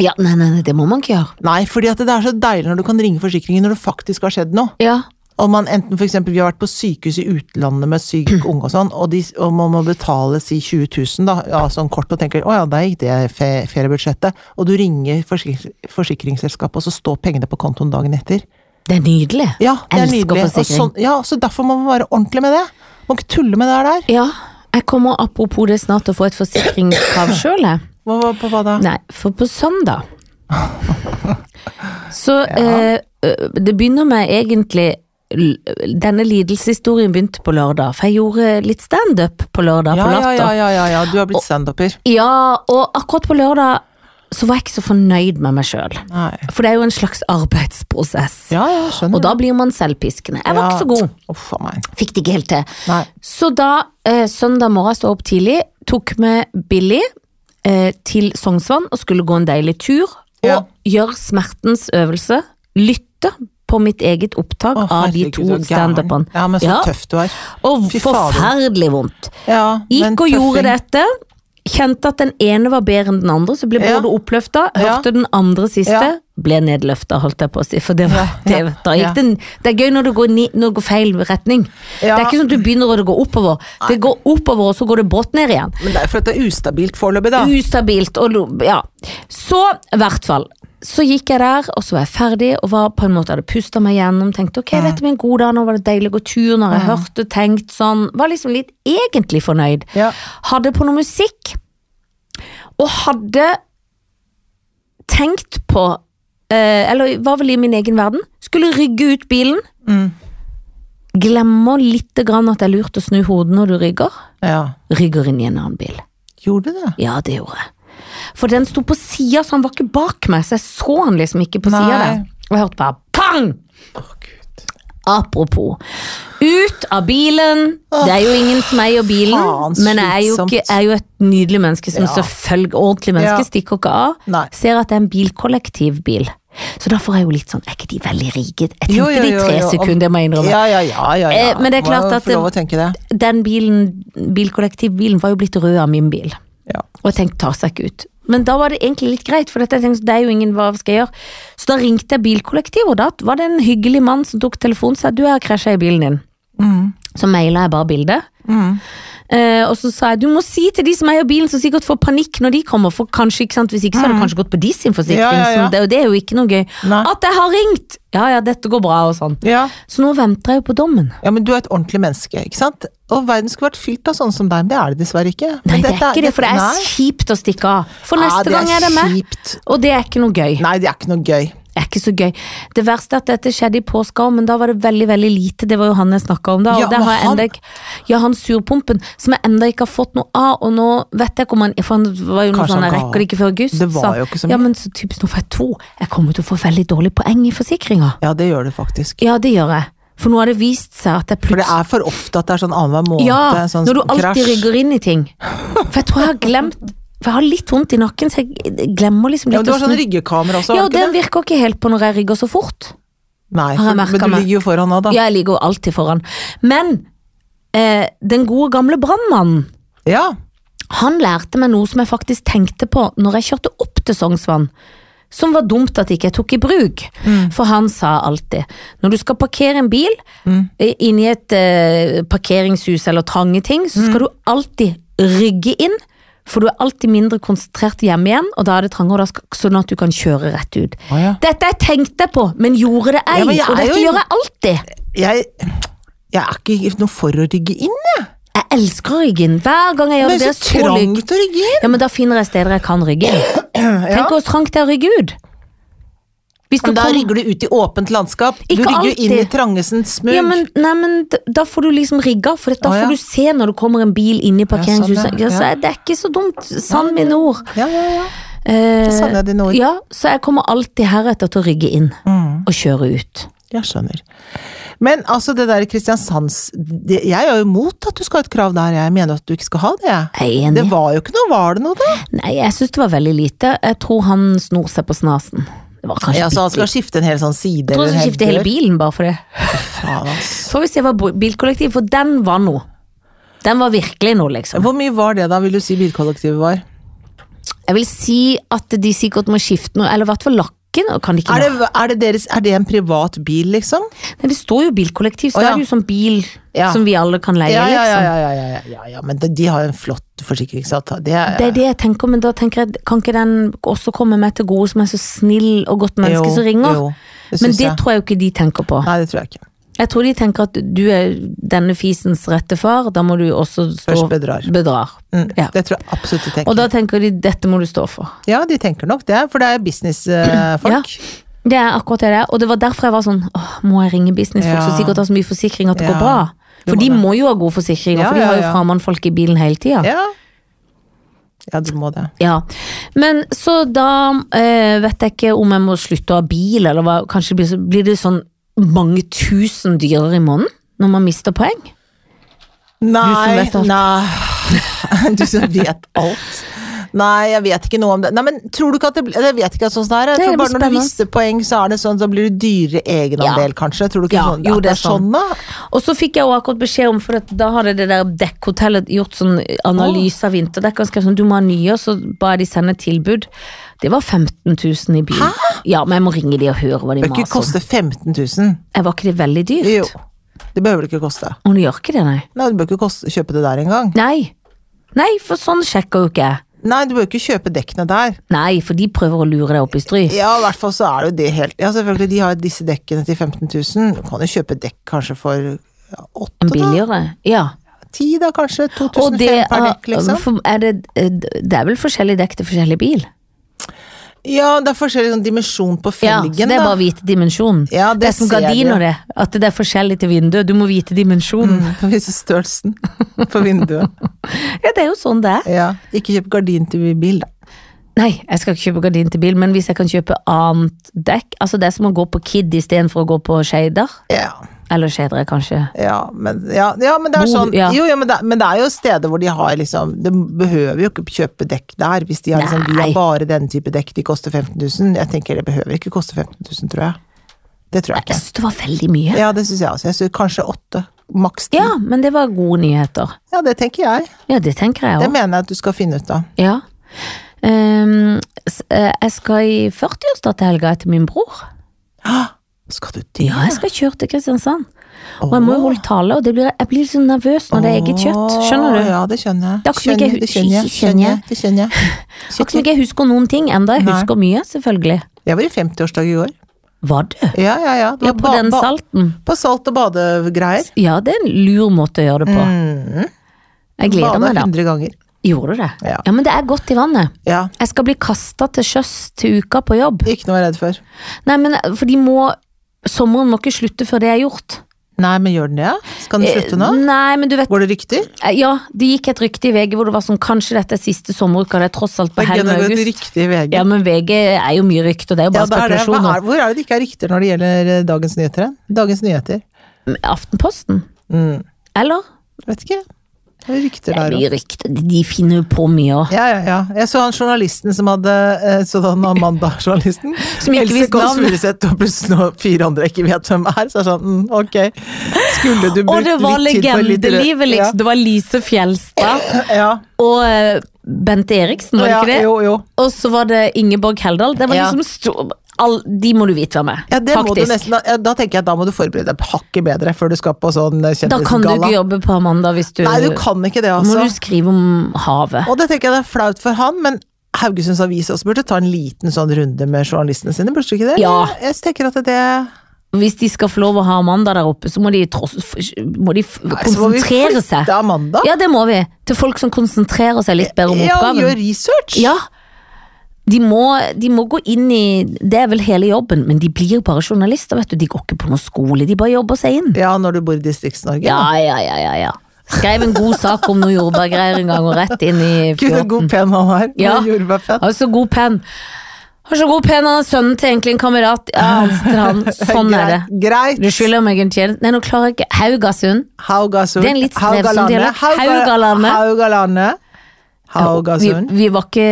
Speaker 2: Ja, nei, nei, nei, det må man ikke gjøre.
Speaker 1: Nei, fordi at det er så deilig når du kan ringe forsikringen når det faktisk har skjedd noe.
Speaker 2: Ja.
Speaker 1: Om man enten for eksempel, Vi har vært på sykehus i utlandet med syk unge og sånn, og, de, og man må betale si 20 000, da, ja, sånn kort, og tenker 'å ja, der gikk det fe feriebudsjettet', og du ringer forsikring, forsikringsselskapet, og så står pengene på kontoen dagen etter.
Speaker 2: Det er nydelig.
Speaker 1: Ja, det er
Speaker 2: Elsker
Speaker 1: nydelig. Og
Speaker 2: forsikring.
Speaker 1: sånn, ja, så derfor må man være ordentlig med det. Må ikke tulle med det der.
Speaker 2: Ja, jeg kommer apropos det snart til å få et forsikringskrav sjøl, jeg.
Speaker 1: Hva, hva- på hva da?
Speaker 2: Nei, for på søndag Så eh, eh, det begynner med egentlig l- Denne lidelseshistorien begynte på lørdag, for jeg gjorde litt standup på lørdag.
Speaker 1: Ja,
Speaker 2: på
Speaker 1: ja,
Speaker 2: latter.
Speaker 1: ja, ja, ja, ja, du har blitt standuper.
Speaker 2: Ja, og akkurat på lørdag så var jeg ikke så fornøyd med meg sjøl.
Speaker 1: Nei.
Speaker 2: For det er jo en slags arbeidsprosess.
Speaker 1: Ja, ja, jeg skjønner.
Speaker 2: Og da blir man selvpiskende. Jeg var ikke så god.
Speaker 1: Uff a meg.
Speaker 2: Fikk det ikke helt til.
Speaker 1: Nei.
Speaker 2: Så da eh, søndag morgen stod jeg opp tidlig, tok med Billy eh, til Sognsvann og skulle gå en deilig tur. Og
Speaker 1: Ja.
Speaker 2: gjøre smertens øvelse. Lytte på mitt eget opptak
Speaker 1: Å,
Speaker 2: av de
Speaker 1: herregud,
Speaker 2: to
Speaker 1: så gæren.
Speaker 2: standupene.
Speaker 1: Ja, men så
Speaker 2: Ja.
Speaker 1: tøff du er.
Speaker 2: Og
Speaker 1: Fy fader.
Speaker 2: forferdelig vondt.
Speaker 1: Ja, men
Speaker 2: Gikk og gjorde
Speaker 1: tøffing.
Speaker 2: dette. Kjente at den ene var bedre enn den andre, så ble
Speaker 1: Ja.
Speaker 2: både oppløfta.
Speaker 1: Ja.
Speaker 2: Hørte den andre siste,
Speaker 1: Ja.
Speaker 2: ble nedløfta, holdt jeg på å si. For det var det, da
Speaker 1: Ja.
Speaker 2: gikk den, det er gøy når det går, ni, når det går feil retning. Det
Speaker 1: Ja.
Speaker 2: er ikke sånn at du begynner og det går oppover. Det går oppover, og så går det brått ned igjen.
Speaker 1: Men det er fordi det er ustabilt foreløpig, da.
Speaker 2: Ustabilt og lo- ja. Så, i hvert fall. Så gikk jeg der, og så var jeg ferdig, og var på en måte hadde pusta meg gjennom. Tenkte ok, dette blir en god dag, nå var det deilig å gå tur, når jeg hørte, tenkt sånn. Var liksom litt egentlig fornøyd.
Speaker 1: Ja.
Speaker 2: Hadde på noe musikk, og hadde tenkt på eh, Eller var vel i min egen verden. Skulle rygge ut bilen. Glemmer lite grann at det er lurt å snu hodet når du rygger.
Speaker 1: Ja.
Speaker 2: Rygger inn i en annen bil.
Speaker 1: Gjorde du det?
Speaker 2: Ja, det gjorde jeg. For den sto på sida, så han var ikke bak meg, så jeg så han liksom ikke på
Speaker 1: Nei.
Speaker 2: sida der. Og jeg hørte bare pang!
Speaker 1: Å, gud.
Speaker 2: Apropos. Ut av bilen. Det er jo ingen som eier bilen,
Speaker 1: faen,
Speaker 2: men jeg er jo,
Speaker 1: slitsomt.
Speaker 2: ikke, jeg er jo et nydelig menneske som
Speaker 1: Ja.
Speaker 2: selvfølgelig ordentlig menneske
Speaker 1: Ja.
Speaker 2: stikker ikke av.
Speaker 1: Nei.
Speaker 2: Ser at det er en bilkollektivbil. Så da får jeg jo litt sånn Er ikke de veldig rike? Jeg tenkte
Speaker 1: Jo, jo,
Speaker 2: det i
Speaker 1: jo,
Speaker 2: tre
Speaker 1: jo, om-
Speaker 2: sekunder, det må jeg innrømme.
Speaker 1: Ja, ja, ja, ja, ja.
Speaker 2: Eh, men det er klart
Speaker 1: Må jo
Speaker 2: at
Speaker 1: Få lov å
Speaker 2: det-
Speaker 1: tenke det.
Speaker 2: Den bilen, bilkollektivbilen var jo blitt rød av min bil.
Speaker 1: Ja.
Speaker 2: Og jeg tenkte, tar seg ikke ut. Men da var det egentlig litt greit, for dette, jeg tenkte, det er jo ingen, hva skal jeg gjøre? Så da ringte jeg bilkollektivet, og da var det en hyggelig
Speaker 1: Mm.
Speaker 2: mann som tok telefonen og sa, du jeg har krasjet i bilen din. Så mailet jeg bare bildet. Eh, og så sa jeg du må si til de som eier bilen, som sikkert får panikk når de kommer. For kanskje, ikke sant, Hvis ikke så har du kanskje gått på de sin
Speaker 1: Mm.
Speaker 2: forsikring.
Speaker 1: Ja, ja, ja.
Speaker 2: sånn, Det, og det er jo ikke noe gøy.
Speaker 1: Nei.
Speaker 2: At jeg har ringt! Ja ja, dette går bra, og sånn.
Speaker 1: Ja.
Speaker 2: Så nå venter jeg jo på dommen.
Speaker 1: ja, men du er et ordentlig menneske, ikke sant? Og verden skulle vært fylt av sånne som deg, men det er det dessverre ikke. Men
Speaker 2: Nei, det er
Speaker 1: dette
Speaker 2: ikke det, for det er
Speaker 1: nei.
Speaker 2: kjipt å stikke av. For
Speaker 1: Ja,
Speaker 2: neste
Speaker 1: det er
Speaker 2: gang er det meg.
Speaker 1: kjipt.
Speaker 2: Og det er ikke noe gøy.
Speaker 1: Nei, det er ikke noe gøy.
Speaker 2: Det er ikke så gøy. Det verste er at dette skjedde i påska òg, men da var det veldig veldig lite. Det var jo han jeg snakka om da.
Speaker 1: Ja,
Speaker 2: og det
Speaker 1: men
Speaker 2: har jeg enda
Speaker 1: han-
Speaker 2: ikke, ja, han surpompen, som jeg enda ikke har fått noe av. Og nå vet jeg ikke om han For han var jo noe
Speaker 1: Kanskje
Speaker 2: sånn
Speaker 1: han
Speaker 2: jeg
Speaker 1: ga
Speaker 2: rekker det ikke før august.
Speaker 1: Det var
Speaker 2: sa han.
Speaker 1: jo ikke så
Speaker 2: Ja,
Speaker 1: mye.
Speaker 2: men så typisk nå får jeg to. Jeg kommer jo til å få veldig dårlig poeng i forsikringa.
Speaker 1: Ja, det gjør det faktisk.
Speaker 2: Ja, det gjør jeg. For nå har det vist seg at jeg
Speaker 1: For det
Speaker 2: plutselig
Speaker 1: er for ofte at det er sånn annenhver måned.
Speaker 2: ja,
Speaker 1: sånn
Speaker 2: når du alltid
Speaker 1: krasj.
Speaker 2: rygger inn i ting. For jeg tror jeg har glemt For jeg har litt vondt i nakken, så jeg glemmer liksom
Speaker 1: Ja, men
Speaker 2: litt
Speaker 1: du har
Speaker 2: å
Speaker 1: sånn
Speaker 2: snu.
Speaker 1: ryggekamera også,
Speaker 2: Ja,
Speaker 1: har
Speaker 2: og
Speaker 1: du
Speaker 2: den
Speaker 1: ikke det?
Speaker 2: virker ikke helt på når jeg rygger så fort.
Speaker 1: Nei,
Speaker 2: har jeg
Speaker 1: for,
Speaker 2: merket
Speaker 1: men du
Speaker 2: meg.
Speaker 1: ligger jo foran nå, da.
Speaker 2: Ja, jeg ligger jo alltid foran. Men eh, den gode gamle brannmannen,
Speaker 1: Ja.
Speaker 2: han lærte meg noe som jeg faktisk tenkte på når jeg kjørte opp til Sognsvann. Som var dumt at ikke jeg tok i bruk.
Speaker 1: Mm.
Speaker 2: For han sa alltid når du skal parkere en bil
Speaker 1: Mm.
Speaker 2: eh, inni et eh, parkeringshus eller trange ting, så
Speaker 1: Mm.
Speaker 2: skal du alltid rygge inn. For du er alltid mindre konsentrert hjemme igjen, og da er det trangere, og da skal, sånn at du kan kjøre rett ut.
Speaker 1: Å, ja.
Speaker 2: Dette jeg tenkte jeg på, men gjorde det ei,
Speaker 1: Ja, men jeg
Speaker 2: og
Speaker 1: er
Speaker 2: dette
Speaker 1: jo-
Speaker 2: gjør jeg alltid.
Speaker 1: Jeg, jeg er ikke noe for å rygge inn, jeg.
Speaker 2: Jeg elsker ryggen. Hver gang jeg gjør
Speaker 1: Men
Speaker 2: det,
Speaker 1: så
Speaker 2: det er så lyg.
Speaker 1: trangt å rygge inn.
Speaker 2: Ja, men da finner jeg steder jeg kan rygge. inn. Tenk hvor trangt det er å rygge ut. Hvis du
Speaker 1: Men da
Speaker 2: kommer-
Speaker 1: rygger du ut i åpent landskap.
Speaker 2: Ikke
Speaker 1: du rygger jo inn i
Speaker 2: alltid.
Speaker 1: trangesens smug.
Speaker 2: ja, men, nei, men d- da får du liksom rigga, for da
Speaker 1: Å, ja.
Speaker 2: får du se når det kommer en bil inn i parkeringshuset.
Speaker 1: Ja, sånn, ja.
Speaker 2: Ja, så er- Det er ikke så dumt. Sann mine ord.
Speaker 1: ja, ja, ja.
Speaker 2: Eh,
Speaker 1: sann er dine ord. Mm.
Speaker 2: Ja, så jeg kommer alltid heretter til å rygge inn og kjøre ut.
Speaker 1: Jeg skjønner. Men altså, det der Kristiansands det, Jeg er jo imot at du skal ha et krav der, jeg mener at du ikke skal ha det. jeg.
Speaker 2: Jeg er
Speaker 1: Det
Speaker 2: enig.
Speaker 1: var jo ikke noe, var det noe, da?
Speaker 2: Nei, jeg syns det var veldig lite. Jeg tror han snor seg på snasen. Det var kanskje
Speaker 1: Ja, så Altså, han
Speaker 2: bitte
Speaker 1: skal
Speaker 2: litt.
Speaker 1: skifte en hel sånn side
Speaker 2: Jeg tror
Speaker 1: eller en
Speaker 2: han
Speaker 1: hel
Speaker 2: skifter hele
Speaker 1: dør.
Speaker 2: bilen bare for det.
Speaker 1: Faen, ass.
Speaker 2: Får vi se hva bo- bilkollektiv, for den var noe. Den var virkelig noe, liksom.
Speaker 1: Hvor mye var det da, vil du si bilkollektivet var?
Speaker 2: Jeg vil si at de sikkert må skifte noe, eller i hvert fall lakken. og Kan de ikke
Speaker 1: Er
Speaker 2: det...
Speaker 1: det, er, det deres, er det en privat bil, liksom?
Speaker 2: Nei, det står jo bilkollektiv, så
Speaker 1: Å, ja.
Speaker 2: da er det jo sånn bil
Speaker 1: Ja.
Speaker 2: som vi alle kan leie,
Speaker 1: ja, ja,
Speaker 2: liksom.
Speaker 1: ja, ja, ja, ja, ja, ja, men de, de har jo en flott forsikringsavtale. Det er,
Speaker 2: Det er det jeg tenker, men da tenker jeg, kan ikke den også komme meg til gode som er så snill og godt
Speaker 1: Jo,
Speaker 2: menneske som ringer?
Speaker 1: jo, det
Speaker 2: men
Speaker 1: syns
Speaker 2: det
Speaker 1: jeg.
Speaker 2: tror jeg jo ikke de tenker på.
Speaker 1: Nei, det tror jeg ikke.
Speaker 2: Jeg tror de tenker at du er denne fisens rette far, da må du også stå
Speaker 1: Først bedrar. Mm,
Speaker 2: Ja.
Speaker 1: Det tror jeg absolutt de
Speaker 2: Og
Speaker 1: tenker.
Speaker 2: da tenker de dette må du stå for.
Speaker 1: Ja, de tenker nok det, for det er businessfolk.
Speaker 2: Det er akkurat det det er, og det var derfor jeg var sånn Åh, må jeg ringe businessfolk
Speaker 1: Ja.
Speaker 2: som sikkert har så mye forsikring at det
Speaker 1: Ja.
Speaker 2: går bra?
Speaker 1: Du
Speaker 2: For
Speaker 1: må
Speaker 2: de
Speaker 1: det.
Speaker 2: må jo ha gode forsikringer,
Speaker 1: Ja,
Speaker 2: for de
Speaker 1: ja,
Speaker 2: har jo
Speaker 1: ja.
Speaker 2: framannfolk i bilen hele tida.
Speaker 1: Ja. ja, du må det.
Speaker 2: Ja. Men så da eh, vet jeg ikke om jeg må slutte å ha bil, eller hva. Kanskje blir, så- blir det sånn mange tusen dyrere i måneden når man mister poeng?
Speaker 1: Nei,
Speaker 2: vet alt.
Speaker 1: nei. Du som vet alt. Nei, jeg vet ikke noe om det. Nei, men tror du ikke at det blir Jeg vet ikke at sånn det er. Jeg
Speaker 2: Nei,
Speaker 1: tror
Speaker 2: det blir
Speaker 1: bare når du
Speaker 2: spennende.
Speaker 1: mister poeng, så er det sånn, så blir det dyrere egenandel, kanskje. Tror du ikke
Speaker 2: Ja,
Speaker 1: sånn,
Speaker 2: jo,
Speaker 1: at
Speaker 2: det
Speaker 1: det
Speaker 2: er
Speaker 1: er sånn, da?
Speaker 2: Og så fikk jeg jo akkurat beskjed om, for at da hadde det der dekkhotellet gjort sånn analyse av vinterdekk, og skrev sånn, du må ha nye, og så ba jeg de sende et tilbud. Det var 15 000 i byen. Ja, men jeg må ringe de og høre hva de
Speaker 1: Det bør ikke
Speaker 2: maser om.
Speaker 1: koste 15 000.
Speaker 2: Jeg var ikke det veldig dyrt?
Speaker 1: Jo. Det behøver det ikke koste.
Speaker 2: Og hun gjør ikke det, nei.
Speaker 1: Nei, du bør ikke koste, kjøpe det der engang.
Speaker 2: Nei, nei for sånn sjekker jo ikke jeg.
Speaker 1: Nei, du bør ikke kjøpe dekkene der.
Speaker 2: Nei, for de prøver å lure deg opp i stry.
Speaker 1: Ja, i hvert fall så er det jo det helt Ja, selvfølgelig, de har disse dekkene til 15 000. Du kan jo kjøpe dekk kanskje for ja, åtte, da?
Speaker 2: En billigere, ja.
Speaker 1: Ti, da, kanskje?
Speaker 2: Og
Speaker 1: 2005
Speaker 2: det ah, er,
Speaker 1: per dekk, liksom.
Speaker 2: for- er det, eh, det er vel forskjellig dekk til forskjellig bil?
Speaker 1: Ja, det er forskjellig sånn dimensjon på
Speaker 2: Ja, så
Speaker 1: felgen,
Speaker 2: det er bare å vite dimensjonen.
Speaker 1: Ja, det
Speaker 2: er som
Speaker 1: ser jeg jo.
Speaker 2: gardiner, det. At det er forskjellig til vinduet. Du må vite dimensjonen.
Speaker 1: da. For å vise størrelsen på vinduet.
Speaker 2: Ja, det er jo sånn det er.
Speaker 1: Ja. Ikke kjøp gardin til bil, da.
Speaker 2: Nei, jeg skal ikke kjøpe gardin til bil, men hvis jeg kan kjøpe annet dekk Altså det er som å gå på Kid istedenfor å gå på Shader.
Speaker 1: Ja,
Speaker 2: Eller Shader, kanskje.
Speaker 1: ja, men, ja, ja, men det er
Speaker 2: Hvor-
Speaker 1: sånn
Speaker 2: ja.
Speaker 1: Jo, ja, men, det, men det er jo steder hvor de har liksom De behøver jo ikke kjøpe dekk der, hvis de har liksom Vi
Speaker 2: Nei.
Speaker 1: har bare denne type dekk, de koster 15 000. Jeg tenker det behøver ikke koste 15 000, tror jeg. Det tror jeg
Speaker 2: Jeg
Speaker 1: ikke.
Speaker 2: syns det var veldig mye.
Speaker 1: Ja, det syns jeg også. Jeg synes kanskje åtte. Maks ti.
Speaker 2: Ja, men det var gode nyheter.
Speaker 1: Ja, det tenker jeg.
Speaker 2: Ja, det tenker
Speaker 1: Det
Speaker 2: jeg òg.
Speaker 1: mener jeg at du skal finne ut av.
Speaker 2: Ja. Ehm, s- eh, jeg skal i 40-årsdag til helga etter min bror.
Speaker 1: Skal du det?
Speaker 2: Ja, jeg skal kjøre til Kristiansand. Og jeg må jo holde tale, og det blir, jeg blir så nervøs når det er eget kjøtt. Skjønner du?
Speaker 1: Ja, det skjønner jeg.
Speaker 2: Det er ikke som
Speaker 1: Skjønner,
Speaker 2: ikke-
Speaker 1: det skjønner jeg.
Speaker 2: skjønner jeg.
Speaker 1: Det skjønner jeg.
Speaker 2: Akkurat som ikke jeg husker noen ting enda. Jeg
Speaker 1: Nei.
Speaker 2: husker mye, selvfølgelig.
Speaker 1: Jeg var i 50-årsdag i går.
Speaker 2: Var du?
Speaker 1: Ja, ja, ja. Det
Speaker 2: Ja,
Speaker 1: var
Speaker 2: på
Speaker 1: ba-
Speaker 2: den
Speaker 1: ba-
Speaker 2: salten.
Speaker 1: På salt og badegreier.
Speaker 2: Ja, det er en lur måte å gjøre det på. Jeg gleder meg,
Speaker 1: Bada
Speaker 2: da.
Speaker 1: 100 ganger.
Speaker 2: Gjorde du det?
Speaker 1: Mm. Ja.
Speaker 2: Ja, men det er godt i vannet.
Speaker 1: Ja.
Speaker 2: Jeg skal bli kasta til sjøs til uka på jobb.
Speaker 1: Ikke noe å være redd for.
Speaker 2: Nei, men for de må Sommeren må ikke slutte før det er gjort.
Speaker 1: Nei, men gjør den det? ja? Skal den slutte nå?
Speaker 2: Eh, Nei, men du vet
Speaker 1: Går det rykter?
Speaker 2: eh, Ja, det gikk et rykte i VG hvor det var sånn Kanskje dette er siste sommeruka, det er tross alt
Speaker 1: Det
Speaker 2: på
Speaker 1: er gøy
Speaker 2: helgen
Speaker 1: når det går et
Speaker 2: august.
Speaker 1: rykte i VG.
Speaker 2: Ja, men VG er jo mye rykte, og det er jo
Speaker 1: Ja, da er
Speaker 2: bare
Speaker 1: det, hva
Speaker 2: spekulasjoner.
Speaker 1: er, hvor er det det ikke er rykter når det gjelder eh, dagens nyheter? eh? Dagens nyheter.
Speaker 2: Aftenposten?
Speaker 1: Mm.
Speaker 2: Eller?
Speaker 1: Vet ikke. Det er rykter
Speaker 2: Det er
Speaker 1: der òg.
Speaker 2: mye rykte, de finner jo på mye òg.
Speaker 1: Ja, ja, ja. Jeg så han journalisten som hadde eh, Så den Amanda-journalisten.
Speaker 2: Som ikke visste
Speaker 1: Kåss
Speaker 2: navn.
Speaker 1: Furuseth og plutselig nå fire andre jeg ikke vet hvem er. Så er det sånn, mm, ok. Skulle du
Speaker 2: Og
Speaker 1: brukt
Speaker 2: det var
Speaker 1: litt tid på litterær-
Speaker 2: legendelivet, liksom. Det var Lise Fjelstad
Speaker 1: Ja. ja.
Speaker 2: og eh, Bente Eriksen, var det
Speaker 1: ja,
Speaker 2: ikke det?
Speaker 1: Jo, jo.
Speaker 2: Og så var det Ingeborg Heldal. Det var
Speaker 1: Ja.
Speaker 2: liksom stor, all, De må du vite hvem er,
Speaker 1: Ja, det må du
Speaker 2: faktisk.
Speaker 1: nesten, ja, da tenker jeg at da må du forberede deg hakket bedre før du skal på sånn eh,
Speaker 2: da kan du ikke
Speaker 1: kjendisgalla.
Speaker 2: jobbe på Amanda hvis du
Speaker 1: Nei, du kan ikke det,
Speaker 2: Må
Speaker 1: altså.
Speaker 2: du skrive om havet.
Speaker 1: Og det tenker jeg det er flaut for han, men Haugesunds Avis også burde ta en liten sånn runde med journalistene sine, burde du ikke det?
Speaker 2: Ja.
Speaker 1: Jeg tenker at det
Speaker 2: Hvis de skal få lov å ha Amanda der oppe, så må de, tross, må de f-
Speaker 1: Nei, så må vi
Speaker 2: konsentrere seg.
Speaker 1: flytte Amanda.
Speaker 2: Ja, det må vi. Til folk som konsentrerer seg litt bedre om
Speaker 1: Ja, og gjør
Speaker 2: oppgaven.
Speaker 1: research!
Speaker 2: Ja, de må, de må gå inn i Det er vel hele jobben, men de blir bare journalister, vet du. De går ikke på noen skole, de bare jobber seg inn.
Speaker 1: Ja, når du bor i Distrikts-Norge.
Speaker 2: Ja,
Speaker 1: da.
Speaker 2: ja, ja, ja, ja. Skrev en god sak om noe jordbærgreier en gang, og rett inn i
Speaker 1: Gud, så god
Speaker 2: 14.
Speaker 1: penn han har.
Speaker 2: Mm. Ja.
Speaker 1: Med jordbærfett.
Speaker 2: Har så god penn. Har så god penn, han er sønnen til egentlig en kamerat. Ja, han til han. Sånn er det.
Speaker 1: Greit.
Speaker 2: Du skylder meg en tjeneste. Nei, nå klarer jeg ikke. Haugasund.
Speaker 1: Haugasund.
Speaker 2: Det er en litt strevsom dialekt. Haugalandet.
Speaker 1: Haugalandet. Haugalandet.
Speaker 2: Vi,
Speaker 1: Haugasund.
Speaker 2: vi var ikke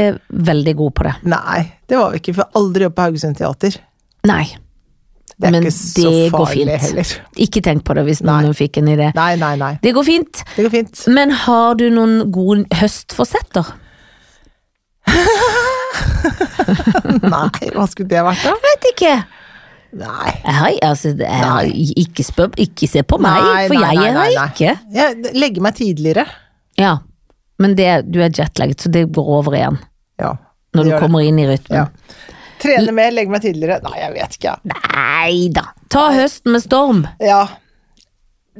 Speaker 2: veldig gode på det.
Speaker 1: Nei, det var vi ikke, for aldri jobb på Haugesund Teater.
Speaker 2: Nei.
Speaker 1: Det er
Speaker 2: Men
Speaker 1: ikke så
Speaker 2: det går
Speaker 1: farlig
Speaker 2: fint.
Speaker 1: heller.
Speaker 2: Ikke tenk på det hvis noen fikk en idé.
Speaker 1: Nei, nei, nei.
Speaker 2: Det går fint.
Speaker 1: Det går fint.
Speaker 2: Men har du noen gode høstforsetter?
Speaker 1: Nei, hva skulle det vært da?
Speaker 2: Vet ikke.
Speaker 1: Nei.
Speaker 2: Nei, altså, det er- ikke, spør, ikke se på meg,
Speaker 1: Nei,
Speaker 2: for
Speaker 1: nei, nei,
Speaker 2: jeg er
Speaker 1: nei,
Speaker 2: her
Speaker 1: nei.
Speaker 2: ikke.
Speaker 1: Jeg legger meg tidligere.
Speaker 2: Ja, men det, du er jetlagd, så det går over igjen
Speaker 1: Ja. det
Speaker 2: når du
Speaker 1: gjør det.
Speaker 2: kommer inn i rytmen.
Speaker 1: Ja. Trene mer, legge meg tidligere. Nei, jeg vet ikke. jeg.
Speaker 2: Nei da. Ta høsten med storm.
Speaker 1: Ja.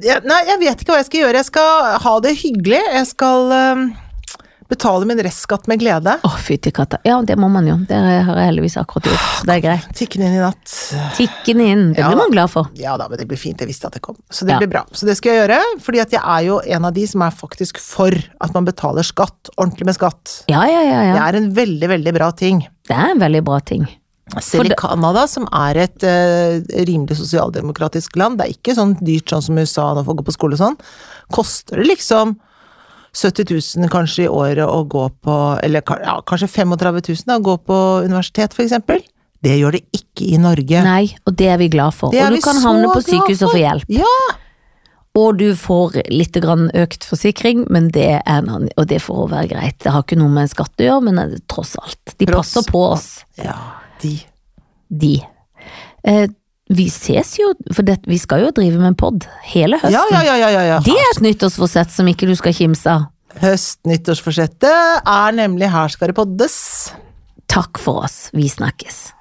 Speaker 1: Ja, nei, jeg vet ikke hva jeg skal gjøre. Jeg skal ha det hyggelig. Jeg skal øhm, betale min restskatt med glede.
Speaker 2: Å, fytti katta. Ja, det må man jo. Det har jeg heldigvis akkurat gjort, så det er greit.
Speaker 1: Tikkende inn i natt.
Speaker 2: Tikken inn. Det
Speaker 1: Ja
Speaker 2: blir
Speaker 1: da.
Speaker 2: man glad for.
Speaker 1: Ja da, men det blir fint. Jeg visste at det kom. Så det
Speaker 2: Ja.
Speaker 1: blir bra. Så det skal jeg gjøre. Fordi at jeg er jo en av de som er faktisk for at man betaler skatt. Ordentlig med skatt.
Speaker 2: Ja, ja, ja.
Speaker 1: Det
Speaker 2: ja.
Speaker 1: er en veldig, veldig bra ting.
Speaker 2: Det er en veldig bra ting.
Speaker 1: Selv i Canada, som er et eh, rimelig sosialdemokratisk land, det er ikke sånn dyrt sånn som USA når folk går på skole og sånn, koster det liksom 70 000 kanskje i året å gå på, eller ka- ja, kanskje 35 000 da, å gå på universitet for eksempel. Det gjør det ikke i Norge.
Speaker 2: Nei, og det er vi glad for.
Speaker 1: Det er
Speaker 2: Og
Speaker 1: vi
Speaker 2: du kan
Speaker 1: så
Speaker 2: havne på
Speaker 1: glad
Speaker 2: sykehus og
Speaker 1: for.
Speaker 2: få hjelp.
Speaker 1: Ja,
Speaker 2: Og du får litt grann økt forsikring, men det er en annen, og det får være greit. Det har ikke noe med skatt å gjøre, men eh, tross alt. De
Speaker 1: Tross
Speaker 2: passer på oss,
Speaker 1: ja de.
Speaker 2: de. Eh, vi ses jo, for det, vi skal jo drive med en pod hele høsten.
Speaker 1: Ja, ja, ja, ja, ja. ja.
Speaker 2: Det er et nyttårsforsett som ikke du skal kimse av.
Speaker 1: Høst-nyttårsforsettet er nemlig Her skal det poddes.
Speaker 2: Takk for oss, vi snakkes.